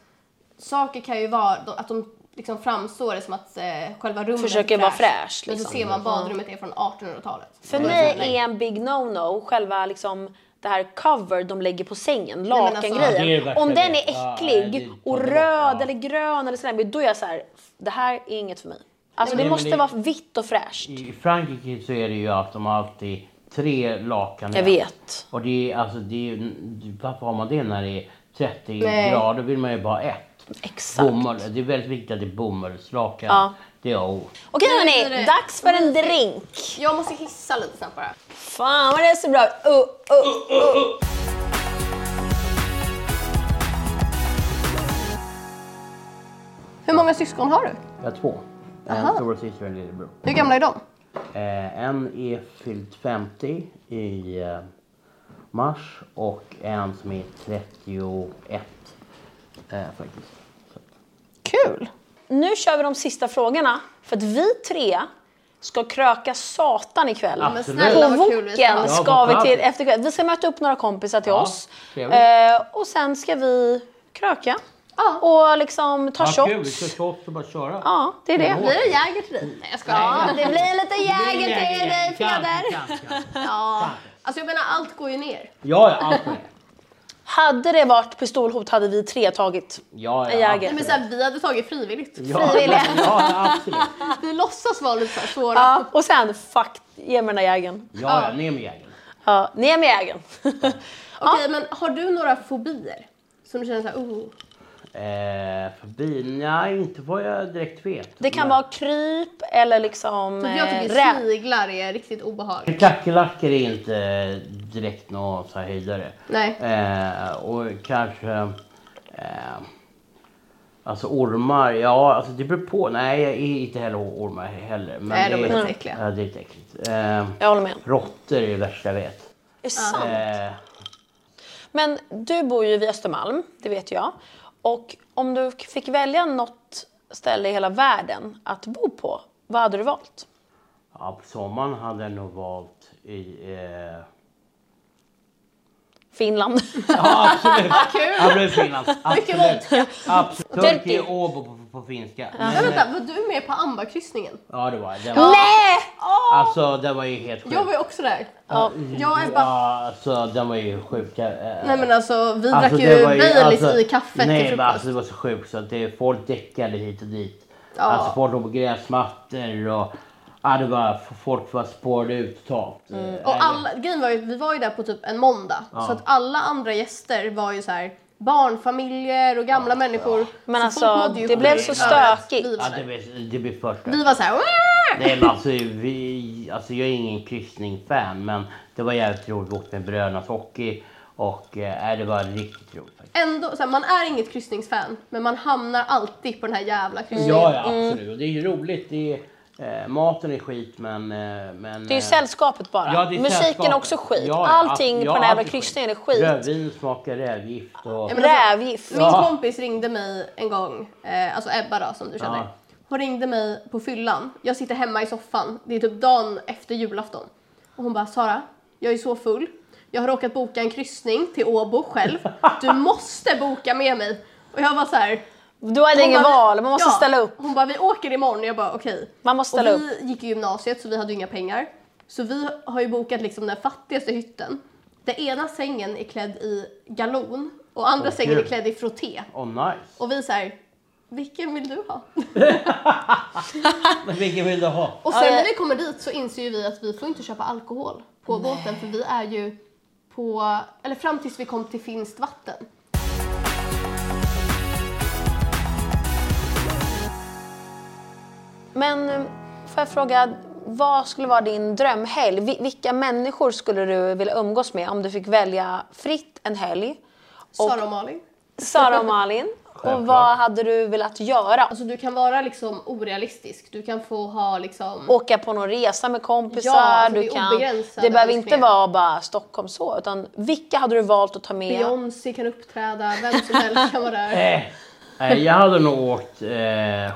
Speaker 2: saker kan ju vara, att de liksom framstår det som att eh, själva rummet
Speaker 1: Försöker
Speaker 2: är
Speaker 1: vara
Speaker 2: fräscht.
Speaker 1: fräscht,
Speaker 2: Men så
Speaker 1: liksom.
Speaker 2: ser man badrummet är från 1800-talet.
Speaker 1: För mig är en big no-no själva liksom det här cover de lägger på sängen,
Speaker 2: men alltså-
Speaker 4: Ja, det är ju
Speaker 1: lakangrejen.
Speaker 4: verkligen
Speaker 1: Om den är
Speaker 4: det. Ja, det är
Speaker 1: äcklig
Speaker 4: ju
Speaker 1: och
Speaker 4: underbart,
Speaker 1: röd
Speaker 4: ja.
Speaker 1: eller grön eller sådär, men då är jag så här, det här är inget för mig. Alltså det
Speaker 4: Nej, men
Speaker 1: måste
Speaker 4: det-
Speaker 1: vara vitt och fräscht.
Speaker 4: I Frankrike så är det ju att de har alltid tre lakan i
Speaker 1: Jag
Speaker 4: en.
Speaker 1: vet.
Speaker 4: Och det är alltså, det är, varför har man det när det är 30
Speaker 2: Nej.
Speaker 4: grader? vill man ju bara ha ett.
Speaker 1: Exakt.
Speaker 4: Bomull, det är väldigt viktigt att det är bomullslakan.
Speaker 1: Ja.
Speaker 4: Det är O.
Speaker 1: Okej
Speaker 2: Nu blir
Speaker 1: hörni,
Speaker 2: det-
Speaker 1: dags för en drink.
Speaker 2: Jag måste hissa lite snabbt bara.
Speaker 1: Fan vad det är så bra ut. Uh, uh.
Speaker 2: Hur många syskon har du?
Speaker 4: Jag har två. En
Speaker 2: Aha.
Speaker 4: storasyster och en lillebror.
Speaker 2: Hur gamla är de?
Speaker 4: Eh, en är fyllt 50 i eh, mars och en som är 31 eh, faktiskt. Så.
Speaker 2: Kul!
Speaker 1: Nu kör vi de sista frågorna. För att vi tre ska kröka satan ikväll.
Speaker 4: Ja,
Speaker 2: Men
Speaker 4: Absolut.
Speaker 2: snälla
Speaker 1: På
Speaker 2: vad kul vi ska
Speaker 1: Voken
Speaker 2: ha.
Speaker 4: Ja,
Speaker 1: ska
Speaker 4: vad
Speaker 1: vi
Speaker 4: bra.
Speaker 1: till efter kväll. Vi ska möta upp några kompisar till
Speaker 4: Ja,
Speaker 1: oss.
Speaker 4: trevligt.
Speaker 1: Eh, och sen ska vi kröka.
Speaker 2: Ja.
Speaker 1: Och liksom ta
Speaker 4: Ja, kul, vi
Speaker 1: shots.
Speaker 4: ska shots och bara köra.
Speaker 1: Ja, det är det.
Speaker 2: Blir det Jäger till dig? Nej jag skojar.
Speaker 1: Ja, det blir lite
Speaker 4: Det är
Speaker 1: jäger till
Speaker 4: Jäger,
Speaker 1: dig
Speaker 4: kanske,
Speaker 1: Peder.
Speaker 4: kanske, kanske.
Speaker 2: Ja. Alltså jag menar allt går ju ner.
Speaker 4: Ja, ja, absolut.
Speaker 1: Hade det varit pistolhot hade vi tre tagit. En
Speaker 4: Ja, ja,
Speaker 1: jäger.
Speaker 2: Nej,
Speaker 4: absolut.
Speaker 2: men så här, vi hade tagit frivilligt.
Speaker 4: Ja,
Speaker 1: frivilliga.
Speaker 4: Ja, ja, absolut.
Speaker 2: Vi låtsas vara lite så här svåra.
Speaker 1: Ja, och sen fuck, ge mig den där jägern.
Speaker 4: Ja, ja, ner med jägern.
Speaker 1: Ja, ner med jägern.
Speaker 2: Okej men har du några fobier? Som du känner såhär, oh.
Speaker 4: Eh, förbi? Nej, inte vad jag direkt vet.
Speaker 1: Det kan
Speaker 4: Men-
Speaker 1: vara kryp eller liksom
Speaker 2: Typ jag
Speaker 1: eh,
Speaker 2: tycker
Speaker 1: räv.
Speaker 2: sniglar är riktigt obehagligt.
Speaker 4: Kackerlackor är inte direkt någon så här höjdare.
Speaker 2: Nej.
Speaker 4: Eh, och kanske... Eh, alltså ormar, ja alltså det beror på. Nej, jag är inte heller ormar heller. Men
Speaker 2: Nej, de är
Speaker 4: det
Speaker 2: lite äckliga.
Speaker 4: Ja, det är lite äckligt. Eh,
Speaker 1: Jag håller med.
Speaker 4: råttor är det värsta jag vet.
Speaker 1: Det är sant.
Speaker 4: Eh,
Speaker 1: Men du bor ju vid Östermalm, det vet jag. Och om du fick välja något ställe i hela världen att bo på, vad hade du valt?
Speaker 4: ja, på sommaren hade jag nog valt i... Eh,
Speaker 1: Finland.
Speaker 4: ja, absolut.
Speaker 2: Kul!
Speaker 4: Ja, men Finland.
Speaker 2: Mycket
Speaker 4: Absolut.
Speaker 2: vodka.
Speaker 4: Absolut.
Speaker 1: Turkey.
Speaker 4: Turkey och Åbo på, på, på finska.
Speaker 2: Men
Speaker 4: Men, eh,
Speaker 2: vänta, var du med på Amba-kryssningen?
Speaker 4: ja, det var jag. det. Var,
Speaker 1: Nej!
Speaker 4: Alltså, det var ju helt sjukt.
Speaker 2: Jag var ju också där.
Speaker 1: Ja.
Speaker 2: Jag är
Speaker 4: Ja,
Speaker 2: bara...
Speaker 4: alltså den var ju sjuk. eh,
Speaker 2: Nej men alltså vi drack
Speaker 4: alltså,
Speaker 2: ju
Speaker 4: det var
Speaker 2: Baileys
Speaker 4: alltså,
Speaker 2: i kaffet
Speaker 4: Nej
Speaker 2: till
Speaker 4: men
Speaker 2: frukost.
Speaker 4: alltså det var så sjukt så att det, folk däckade hit och dit.
Speaker 2: Ja.
Speaker 4: Alltså folk låg på gräsmattor och ja, det var, folk var spårade ut totalt. Eh, nej,
Speaker 2: Mm. Och alla, grejen var ju att vi var ju där på typ en måndag. Så att alla andra gäster var ju så här barnfamiljer och gamla människor.
Speaker 1: Men
Speaker 2: så
Speaker 1: alltså,
Speaker 2: folk mådde ju
Speaker 1: det blev
Speaker 2: skit
Speaker 1: så
Speaker 2: över att
Speaker 1: stökigt.
Speaker 2: Vi var,
Speaker 4: Ja, det,
Speaker 2: där.
Speaker 4: blir- det blir först.
Speaker 2: vi var så här... "Wah!"
Speaker 4: Nej men alltså, vi, alltså jag är ingen kryssning-fan men det var jävligt roligt. Vi åkte med Brödernas Hockey och eh, nej, det var riktigt roligt faktiskt.
Speaker 2: Ändå, så här, man är inget kryssningsfan, men man hamnar alltid på den här jävla
Speaker 1: Mm.
Speaker 2: kryssningen.
Speaker 4: Ja, ja absolut. Och det är ju roligt. Det är, eh, maten är skit men... Eh, men
Speaker 1: Det är ju
Speaker 4: eh,
Speaker 1: sällskapet bara.
Speaker 4: Ja, det är
Speaker 1: Musiken
Speaker 4: sällskapet.
Speaker 1: är också skit.
Speaker 4: Ja, ja,
Speaker 1: Allting
Speaker 4: ja,
Speaker 1: på den här jävla
Speaker 4: allt är skit.
Speaker 1: kryssningen är skit.
Speaker 4: Rödvin smakar rävgift och...
Speaker 2: men alltså,
Speaker 1: Rävgift.
Speaker 2: Min
Speaker 4: Ja.
Speaker 2: kompis ringde mig en gång, eh, alltså Ebba då som du känner.
Speaker 4: Ja.
Speaker 2: Hon ringde mig på fyllan. Jag sitter hemma i soffan. Det är typ dagen efter julafton. Och hon bara Sara, jag är så full. Jag har råkat boka en kryssning till Åbo själv. Du måste boka med mig. Och jag var så här.
Speaker 1: Du hade
Speaker 2: hon
Speaker 1: inget
Speaker 2: bara,
Speaker 1: val, man måste
Speaker 2: ja.
Speaker 1: ställa upp.
Speaker 2: Hon bara vi åker imorgon. Jag bara okej.
Speaker 1: Man måste
Speaker 2: Och
Speaker 1: ställa upp.
Speaker 2: vi gick i gymnasiet så vi hade ju inga pengar. Så vi har ju bokat liksom den fattigaste hytten. Den ena sängen är klädd i galon och andra
Speaker 4: Åh,
Speaker 2: sängen är
Speaker 4: gud.
Speaker 2: klädd i frotté.
Speaker 4: Oh, nice.
Speaker 2: Och vi så här, vilken vill du ha?
Speaker 4: Men vilken vill du ha?
Speaker 2: Och sen
Speaker 1: Ja, ja.
Speaker 2: när vi kommer dit så inser ju vi att vi får inte köpa alkohol på båten för vi är ju på, eller fram tills vi kom till finskt vatten.
Speaker 1: Men eh, får jag fråga, vad skulle vara din drömhelg? Vi- Vilka människor skulle du vilja umgås med om du fick välja fritt en helg? Och-
Speaker 2: Sara och Malin.
Speaker 1: Sara och Malin. Och
Speaker 4: Självklart.
Speaker 1: vad hade du velat göra?
Speaker 2: Alltså du kan vara liksom orealistisk. Du kan få ha liksom...
Speaker 1: Åka på någon resa med kompisar.
Speaker 2: Ja, alltså det
Speaker 1: du
Speaker 2: är
Speaker 1: kan,
Speaker 2: obegränsade
Speaker 1: det behöver inte
Speaker 2: önskningar.
Speaker 1: vara bara Stockholm så. Utan vilka hade du valt att ta med?
Speaker 2: Beyoncé kan uppträda, vem som helst kan vara där.
Speaker 4: Eh, eh, jag hade nog åkt eh,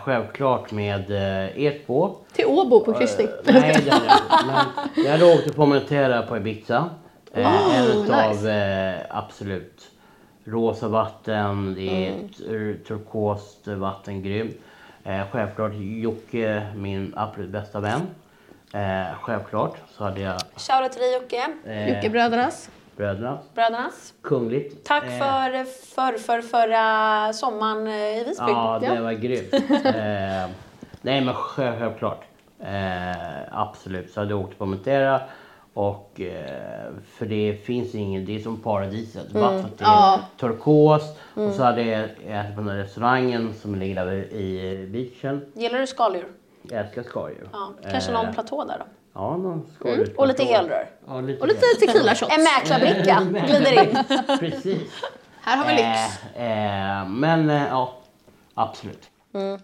Speaker 4: självklart med eh, er två.
Speaker 2: Till Åbo på kryssning.
Speaker 4: Nej, det hade jag inte. Men jag hade åkt till Formentera på Ibiza. Eh, en utav eh, absolut rosa vatten, det är tur- turkost vatten, grymt. Eh, självklart Jocke, min absolut bästa vän. Eh, självklart så hade jag
Speaker 1: Shoutout till dig Jocke.
Speaker 4: eh,
Speaker 2: Jockebrödernas.
Speaker 4: Brödernas.
Speaker 1: Brödernas.
Speaker 4: Kungligt.
Speaker 1: Tack
Speaker 4: Eh,
Speaker 1: för, för, för förra sommaren eh, i Visby.
Speaker 4: Ja, det
Speaker 2: Ja.
Speaker 4: var grymt. eh, nej, men själv- självklart. Eh, absolut. Så hade jag åkt på Montera. Och, eh, för det finns ingen, det är som paradiset.
Speaker 1: Mm.
Speaker 4: Vattnet är
Speaker 2: Ja.
Speaker 4: turkost. Och så hade jag ätit på den här restaurangen som ligger där vid- i beachen.
Speaker 1: Gillar du skaldjur?
Speaker 4: Jag älskar skaldjur.
Speaker 1: Ja. Kanske
Speaker 4: Eh.
Speaker 1: någon platå där då?
Speaker 4: Ja, någon skaldjur.
Speaker 1: Och lite helrör.
Speaker 4: Ja, lite
Speaker 2: Och lite tequila-shots.
Speaker 1: En mäklarbricka glider in.
Speaker 4: helrör. Precis.
Speaker 2: Här har vi lyx.
Speaker 4: Eh, eh, men eh, ja, absolut.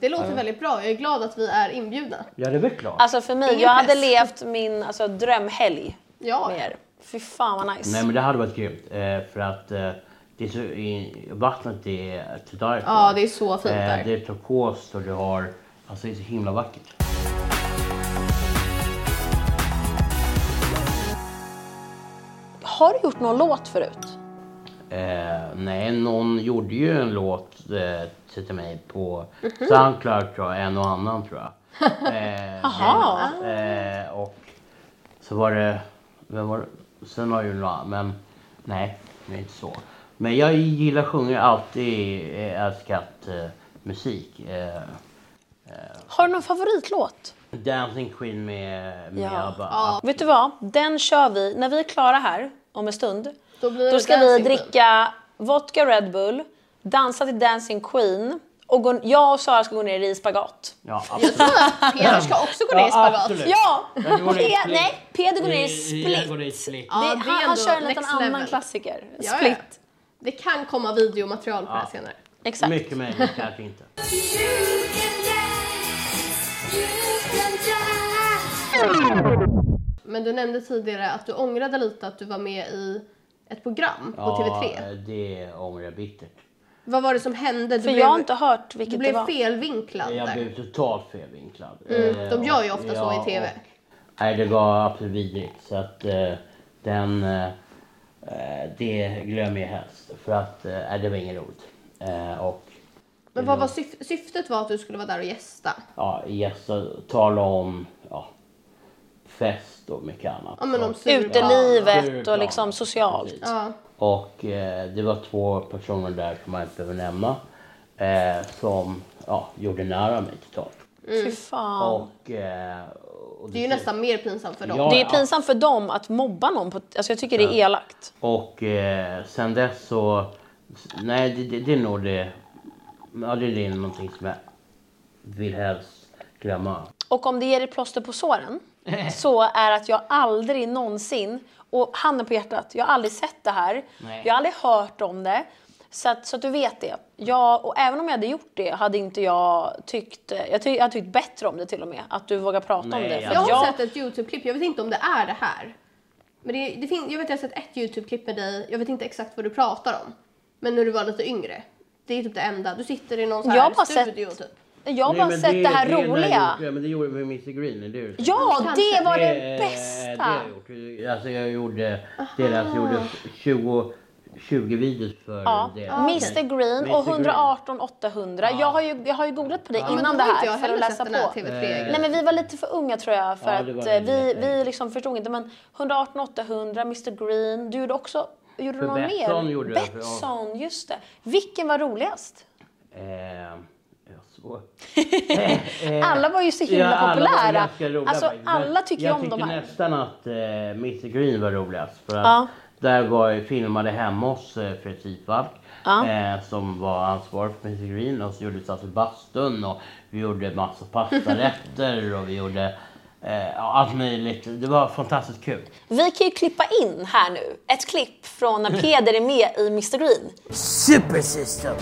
Speaker 2: Det låter väldigt bra. Jag är glad att vi är inbjudna.
Speaker 4: Ja, det är väl klart.
Speaker 1: Alltså för mig,
Speaker 2: Ingen
Speaker 1: jag hade
Speaker 2: press.
Speaker 1: levt min alltså, drömhelg
Speaker 2: Ja.
Speaker 1: med er. Fy fan vad nice.
Speaker 4: Nej men det hade varit grymt eh, för att eh, det är så, i, vattnet är Tudarko.
Speaker 2: Ja, det är så fint
Speaker 4: eh,
Speaker 2: där.
Speaker 4: Det är turkost och du har, alltså det är så himla vackert.
Speaker 1: Har du gjort någon låt förut?
Speaker 4: Eh, nej, någon gjorde ju en låt eh, till till mig på
Speaker 2: Mhm.
Speaker 4: Soundcloud tror jag, en och annan tror jag. Eh,
Speaker 1: Jaha.
Speaker 2: Ah.
Speaker 4: men, eh, och så var det, vem var det? Sen har jag ju någon annan, men nej, det är inte så. Men jag gillar sjunger alltid, eh, älskat eh, musik. Eh,
Speaker 1: Har du någon favoritlåt?
Speaker 4: Dancing Queen med, med
Speaker 1: Ja.
Speaker 4: ABBA.
Speaker 1: Vet du vad? Den kör vi. När vi är klara här om en stund,
Speaker 2: Då blir
Speaker 1: då
Speaker 2: det
Speaker 1: ska vi
Speaker 2: Dancing Queen.
Speaker 1: dricka vodka Red Bull, dansa till Dancing Queen och gå, jag och Sara ska gå ner i spagat.
Speaker 4: Ja, absolut.
Speaker 2: Peter ska också gå ner i spagat.
Speaker 4: absolut.
Speaker 1: Ja!
Speaker 4: Jag går ner i
Speaker 1: Pe-
Speaker 4: split.
Speaker 1: nej, Peder går ner i
Speaker 4: Jag går
Speaker 1: split.
Speaker 4: ner i split.
Speaker 1: Det,
Speaker 2: Ja, det är
Speaker 1: han, han
Speaker 2: ändå
Speaker 1: kör en liten
Speaker 2: next
Speaker 1: annan
Speaker 2: level.
Speaker 1: klassiker.
Speaker 2: Ja, ja.
Speaker 1: Split.
Speaker 2: Det kan komma videomaterial på det här
Speaker 4: Ja.
Speaker 2: senare.
Speaker 1: Exakt.
Speaker 4: Mycket möjligt, kanske inte.
Speaker 2: Men du nämnde tidigare att du ångrade lite att du var med i ett program på
Speaker 4: Ja,
Speaker 2: TV3.
Speaker 4: det ångrar jag bittert.
Speaker 2: Vad var det som hände? Du
Speaker 1: För
Speaker 2: blev,
Speaker 1: jag har inte hört
Speaker 2: du
Speaker 1: vilket det
Speaker 2: blev
Speaker 1: var.
Speaker 2: felvinklad
Speaker 4: Jag
Speaker 2: där. Mm,
Speaker 4: blev totalt felvinklad. Eh,
Speaker 2: de gör ju ofta så i
Speaker 4: och-
Speaker 2: TV.
Speaker 4: nej, det var absolut vidrigt. Så att eh, den... Eh, eh, det glömmer jag helst. För att eh, nej, det var inget roligt. Eh, och
Speaker 2: Men vad var syf- syftet var att du skulle vara där och gästa?
Speaker 4: ja, gäster talar om ja, fest och mycket annat.
Speaker 2: Ja, men om
Speaker 4: Och-
Speaker 2: sur-
Speaker 1: Utelivet
Speaker 4: Surplan.
Speaker 1: och liksom socialt.
Speaker 4: Precis.
Speaker 2: Ja.
Speaker 4: Och eh, det var två personer där som jag inte behöver nämna. Eh, som ja, gjorde nära mig totalt.
Speaker 2: Mm.
Speaker 1: Fy fan.
Speaker 4: Och, eh, och
Speaker 2: Det är ju nästan mer pinsamt för dem.
Speaker 4: Ja.
Speaker 1: Det är pinsamt för dem att mobba någon. På, alltså jag tycker det är elakt.
Speaker 4: Och eh, sen dess så... Nej, det, det, det är nog det... Ja, det är det någonting som jag vill helst glömma.
Speaker 1: Och om det ger dig plåster på såren så är att jag aldrig någonsin, och handen på hjärtat, jag har aldrig sett det här.
Speaker 4: Nej.
Speaker 1: Jag har aldrig hört om det. Så att, så att du vet det. Jag, och även om jag hade gjort det hade inte jag tyckt, eh, jag, ty, jag hade tyckt bättre om det till och med. Att du vågar prata om
Speaker 4: Nej, alltså,
Speaker 1: det. För
Speaker 2: Jag
Speaker 1: att
Speaker 2: har
Speaker 1: jag,
Speaker 2: sett ett Youtube-klipp, jag vet inte om det är det här. Men det, det fin- jag vet att jag har sett ett Youtube-klipp med dig, jag vet inte exakt vad du pratar om. Men när du var lite yngre. Det är typ det enda. Du sitter i någon sån
Speaker 1: Jag
Speaker 2: här
Speaker 1: har bara
Speaker 2: studio
Speaker 1: sett-
Speaker 2: typ.
Speaker 1: jag har
Speaker 4: Nej,
Speaker 1: bara
Speaker 4: men
Speaker 1: sett det, här
Speaker 4: är när jag
Speaker 1: roliga.
Speaker 4: Gjorde, ja, men det gjorde vi med Mr Green, eller hur?
Speaker 1: Ja,
Speaker 2: Kanske.
Speaker 1: det var det,
Speaker 4: eh, Det
Speaker 1: bästa!
Speaker 4: har jag gjort. Alltså jag gjorde deras, jag gjorde 20, 20 videos för
Speaker 1: Ja,
Speaker 4: deras.
Speaker 1: Mr Green och 118 800. Jag, har ju, jag har ju googlat på det
Speaker 2: men
Speaker 1: innan
Speaker 2: då
Speaker 1: det
Speaker 2: har inte
Speaker 1: här
Speaker 2: jag
Speaker 1: för att
Speaker 2: heller
Speaker 1: läsa
Speaker 2: sett den här
Speaker 1: på.
Speaker 2: TV3-grejen.
Speaker 1: Nej men vi var lite för unga tror jag för
Speaker 4: Ja, det var
Speaker 1: att
Speaker 4: det
Speaker 1: eh, vi,
Speaker 4: lite.
Speaker 1: vi liksom förstod inte. Men 118 800, Mr Green. Du gjorde också, gjorde du
Speaker 4: För
Speaker 1: någon
Speaker 4: Betsson
Speaker 1: mer?
Speaker 4: gjorde jag, för- ja.
Speaker 1: Betsson, just det. Vilken var roligast? Mm.
Speaker 4: Eh, jag såg.
Speaker 1: Alla var ju så himla
Speaker 4: Eh, Ja, alla var
Speaker 1: populära.
Speaker 4: ganska roliga
Speaker 1: alltså
Speaker 4: faktiskt. Men
Speaker 1: alla tycker ju om de
Speaker 4: Jag
Speaker 1: här.
Speaker 4: tyckte nästan att eh, Mr Green var roligast. För att
Speaker 1: Ja.
Speaker 4: där var jag filmade hemma hos eh, Fredrik Tidvalk.
Speaker 1: Ja.
Speaker 4: Eh, som var ansvarig för Mr Green. Och så gjorde vi satt i bastun och vi gjorde massa pastarätter och vi gjorde eh, ja, allt möjligt. Det var fantastiskt kul.
Speaker 1: Vi kan ju klippa in här nu ett klipp från när Peder är med i Mr Green.
Speaker 3: Super System.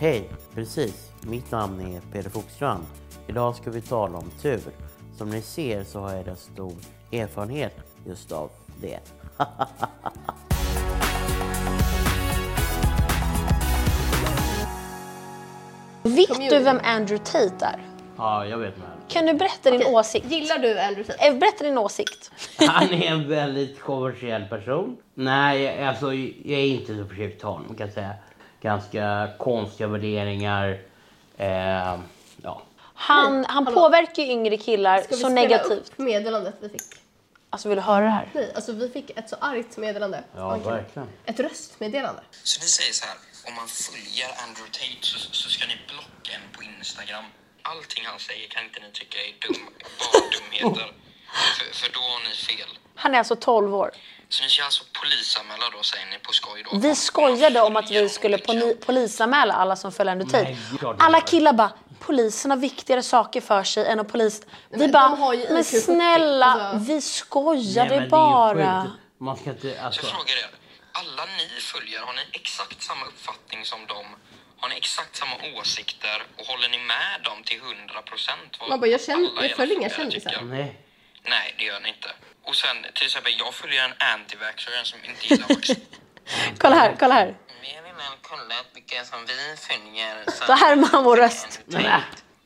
Speaker 4: Hej! Precis, mitt namn är Peder Foxstrand. Idag ska vi tala om tur. Som ni ser så har jag rätt stor erfarenhet just av det.
Speaker 1: Vet du
Speaker 2: Community.
Speaker 1: vem Andrew Tate är?
Speaker 4: Ja, jag vet med.
Speaker 1: Kan du berätta din åsikt?
Speaker 2: Gillar du Andrew Tate?
Speaker 1: Eh, Berätta din åsikt.
Speaker 4: Han är en väldigt kommersiell person. Nej, alltså jag är inte så förtjust i honom kan jag säga. Ganska konstiga värderingar. Eh, ja.
Speaker 1: Han, han påverkar ju yngre killar
Speaker 2: Ska vi
Speaker 1: så
Speaker 2: spela
Speaker 1: negativt.
Speaker 2: upp meddelandet vi fick?
Speaker 1: Alltså vill du höra det här?
Speaker 2: Nej, alltså vi fick ett så argt meddelande.
Speaker 4: Ja,
Speaker 2: Oj.
Speaker 4: verkligen.
Speaker 2: Ett röstmeddelande.
Speaker 5: Så ni säger så här, om man följer Andrew Tate så, så ska ni blocka en på Instagram. Allting han säger kan inte ni tycka är dum, bara dumheter. För, för då har ni fel.
Speaker 1: Han är alltså 12 år.
Speaker 5: Så ni ska alltså polisanmäla då säger ni på skoj då?
Speaker 1: Vi skojade om att vi skulle poli- polisanmäla alla som följer Andrew Tate.
Speaker 4: Nej, klart vi
Speaker 1: Alla
Speaker 4: gör.
Speaker 1: killar bara, polisen har viktigare saker för sig än att polis... Vi
Speaker 2: men
Speaker 1: bara,
Speaker 2: de har ju
Speaker 1: men
Speaker 2: IQ 40,
Speaker 1: snälla, vi
Speaker 2: alltså."
Speaker 4: Nej, men
Speaker 1: skojade
Speaker 4: det är ju
Speaker 1: bara.
Speaker 4: sjukt. Man ska inte...
Speaker 5: Så
Speaker 4: Alltså,
Speaker 5: jag frågar er, alla ni följer, har ni exakt samma uppfattning som dem? Har ni exakt samma åsikter och håller ni med dem till 100 procent?
Speaker 2: Man bara, jag känner- jag följer inga kändisar.
Speaker 4: nej.
Speaker 5: Nej, det gör ni inte. Och sen till exempel, jag följer en anti-vaxxer en som inte gillar vaccin.
Speaker 1: Kolla här, kolla här.
Speaker 5: Vi har redan kollat vilka som vi följer.
Speaker 1: Så här är man vår röst.
Speaker 4: Men, äh,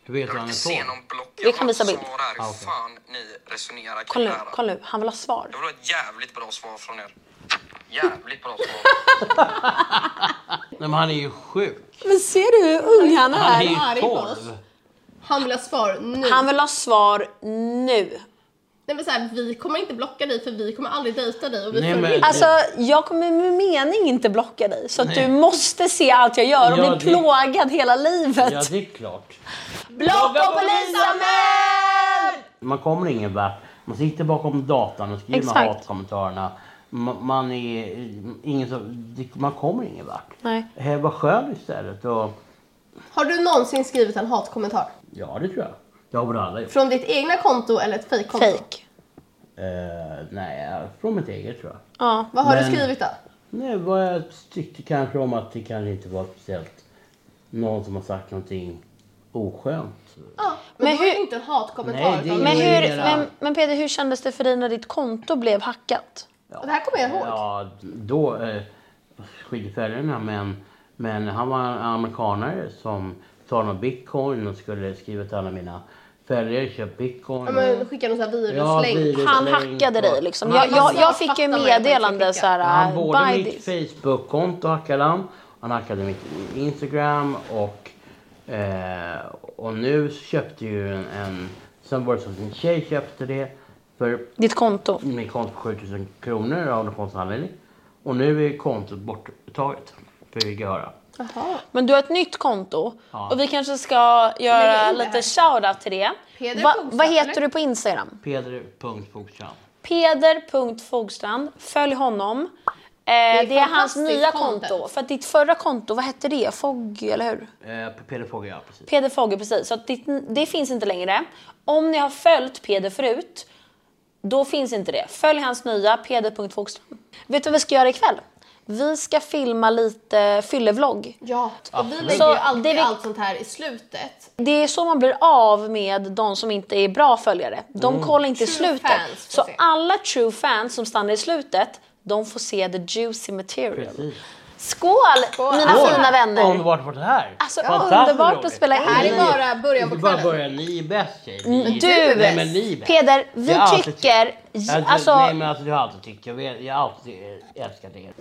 Speaker 4: hur vet du han
Speaker 5: Se
Speaker 4: är på?
Speaker 5: någon block.
Speaker 1: Vi kan visa bild.
Speaker 5: Jag vill ha ett svar
Speaker 4: Ah,
Speaker 5: här. Hur
Speaker 4: okej.
Speaker 5: fan ni resonerar kring
Speaker 1: Kolla
Speaker 5: det
Speaker 1: nu,
Speaker 5: här.
Speaker 1: kolla nu. Han vill ha svar.
Speaker 5: Jag vill ha ett jävligt bra svar från er. Jävligt bra svar.
Speaker 4: Nej, men han är ju sjuk.
Speaker 1: Men ser du hur ung han
Speaker 4: Han är
Speaker 1: är?
Speaker 2: arg
Speaker 4: ju
Speaker 2: på oss.
Speaker 4: 12.
Speaker 2: Han vill ha svar nu.
Speaker 1: Han vill ha svar nu.
Speaker 2: Nej men så här, vi kommer inte blocka dig för vi kommer aldrig dejta dig och vi
Speaker 4: Nej,
Speaker 2: följer
Speaker 4: men-
Speaker 2: inte.
Speaker 1: Alltså, jag kommer med mening inte blocka dig. Så att
Speaker 4: Nej.
Speaker 1: du måste se allt jag gör och
Speaker 4: Ja,
Speaker 1: bli
Speaker 4: det-
Speaker 1: plågad hela livet.
Speaker 4: Ja, det är klart.
Speaker 1: Blocka och polisanmäl!
Speaker 4: Man kommer ingen vart. Man sitter bakom datorn och skriver de här
Speaker 1: Exakt.
Speaker 4: hatkommentarerna. Man, man är ingen som, det- man kommer ingen vart.
Speaker 1: Nej.
Speaker 4: Eh, Var skön istället och
Speaker 2: Har du någonsin skrivit en hatkommentar?
Speaker 4: ja, det tror jag. Det har väl alla gjort.
Speaker 2: Från ditt egna konto eller ett fejkkonto?
Speaker 1: Fake.
Speaker 4: Eh, nej, från mitt eget tror jag.
Speaker 1: Ja.
Speaker 2: Vad har
Speaker 4: Men-
Speaker 2: du skrivit då?
Speaker 4: Nej, vad jag tyckte kanske om att det kanske inte var speciellt någon som har sagt någonting oskönt.
Speaker 2: Ja, men,
Speaker 1: Men
Speaker 2: då är det
Speaker 1: hur-
Speaker 2: inte en hatkommentar.
Speaker 4: Nej, det är
Speaker 2: utan-
Speaker 4: ju-
Speaker 1: Men, hur,
Speaker 4: Numera-
Speaker 1: men, men Peter, hur kändes det för dig när ditt konto blev hackat?
Speaker 2: Och det här kommer jag ihåg.
Speaker 4: Ja, då eh, skidfärgerna, men, men han var en amerikanare som talade om bitcoin och skulle skriva till alla mina färger, köp bitcoin.
Speaker 2: Ja, men skicka någon eh, sån här viruslänk.
Speaker 4: viruslänk.
Speaker 1: Han
Speaker 4: Länk
Speaker 1: hackade
Speaker 4: och-
Speaker 1: dig liksom.
Speaker 4: Han-
Speaker 1: Jag, jag, jag
Speaker 2: han
Speaker 1: fick ju
Speaker 2: fattar vad jag
Speaker 1: meddelande
Speaker 2: tänkte
Speaker 1: så här,
Speaker 4: han
Speaker 1: äh,
Speaker 4: både
Speaker 1: buy
Speaker 4: mitt
Speaker 1: this.
Speaker 4: Facebook-konto hackade han, han hackade mitt Instagram och, eh, och nu så köpte ju en, en sen var det så att min tjej köpte det för
Speaker 1: Ditt konto.
Speaker 4: min konto på 7000 kronor av någon konstig anledning. Och nu är kontot borttaget, fick jag höra.
Speaker 2: Jaha.
Speaker 1: Men du har ett nytt konto
Speaker 4: Ja.
Speaker 1: och vi kanske ska göra
Speaker 2: Lägg in det
Speaker 1: lite
Speaker 2: här.
Speaker 1: shout-out till det.
Speaker 2: Peder
Speaker 1: Va,
Speaker 2: Fogstrand,
Speaker 1: vad heter
Speaker 2: eller?
Speaker 1: du på Instagram?
Speaker 4: Peder.Fogstrand.
Speaker 1: Peder.Fogstrand. Följ honom. Eh, det är, hans
Speaker 2: fantastiskt
Speaker 1: nya
Speaker 2: content.
Speaker 1: konto. För att ditt förra konto, vad hette det? Foggy, eller hur?
Speaker 4: Eh, Peder Fogge, ja precis.
Speaker 1: Peder Fogge, precis. Så att det, det finns inte längre. Om ni har följt Peder förut, då finns inte det. Följ hans nya, peder.fogström. Vet du vad vi ska göra ikväll? Vi ska filma lite fyllevlogg.
Speaker 2: Ja, och vi
Speaker 4: Absolut.
Speaker 2: lägger
Speaker 1: Så
Speaker 2: ju alltid
Speaker 1: det vi-
Speaker 2: allt sånt här i slutet.
Speaker 1: Det är så man blir av med de som inte är bra följare. De kollar inte i
Speaker 2: True
Speaker 1: slutet.
Speaker 2: fans får
Speaker 1: Så
Speaker 2: se.
Speaker 1: alla true fans som stannar i slutet, de får se the juicy material.
Speaker 4: precis.
Speaker 1: Skål, Alltså, mina
Speaker 2: Skål.
Speaker 1: fina vänner!
Speaker 4: Underbart att vara här!
Speaker 1: Alltså,
Speaker 4: Fantastiskt
Speaker 1: underbart att
Speaker 4: roligt.
Speaker 1: spela in.
Speaker 2: Här är
Speaker 4: Ni-
Speaker 2: bara början på
Speaker 4: det är bara
Speaker 2: kvällen.
Speaker 4: början. Ni är bäst tjejer. Ni-
Speaker 1: Du,
Speaker 4: Nej, men ni är bäst.
Speaker 1: Peder, vi
Speaker 4: Jag har alltid
Speaker 1: tycker...
Speaker 4: tyckt- Jag-
Speaker 1: Alltså,
Speaker 4: Nej men alltså du har alltid tyckt. Jag, vet, jag har alltid eh, älskat er.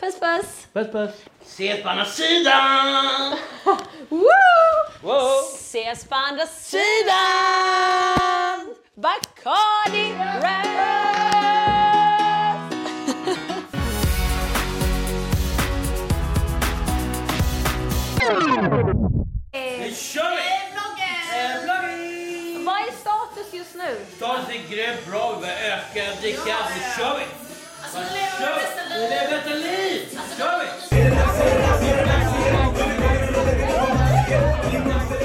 Speaker 1: puss puss!
Speaker 4: Puss puss! Ses på andra sidan! Wow!
Speaker 1: Ses på andra sidan! Bacardi Red!
Speaker 4: Nu kör vi! Vloggen!
Speaker 1: Vad är status just nu?
Speaker 4: Ta oss en gröt, bra, vi börjar öka, dricka, nu kör vi! Alltså, Nu kör vi! Alltså, Vi lever bästa liv! Nu kör vi!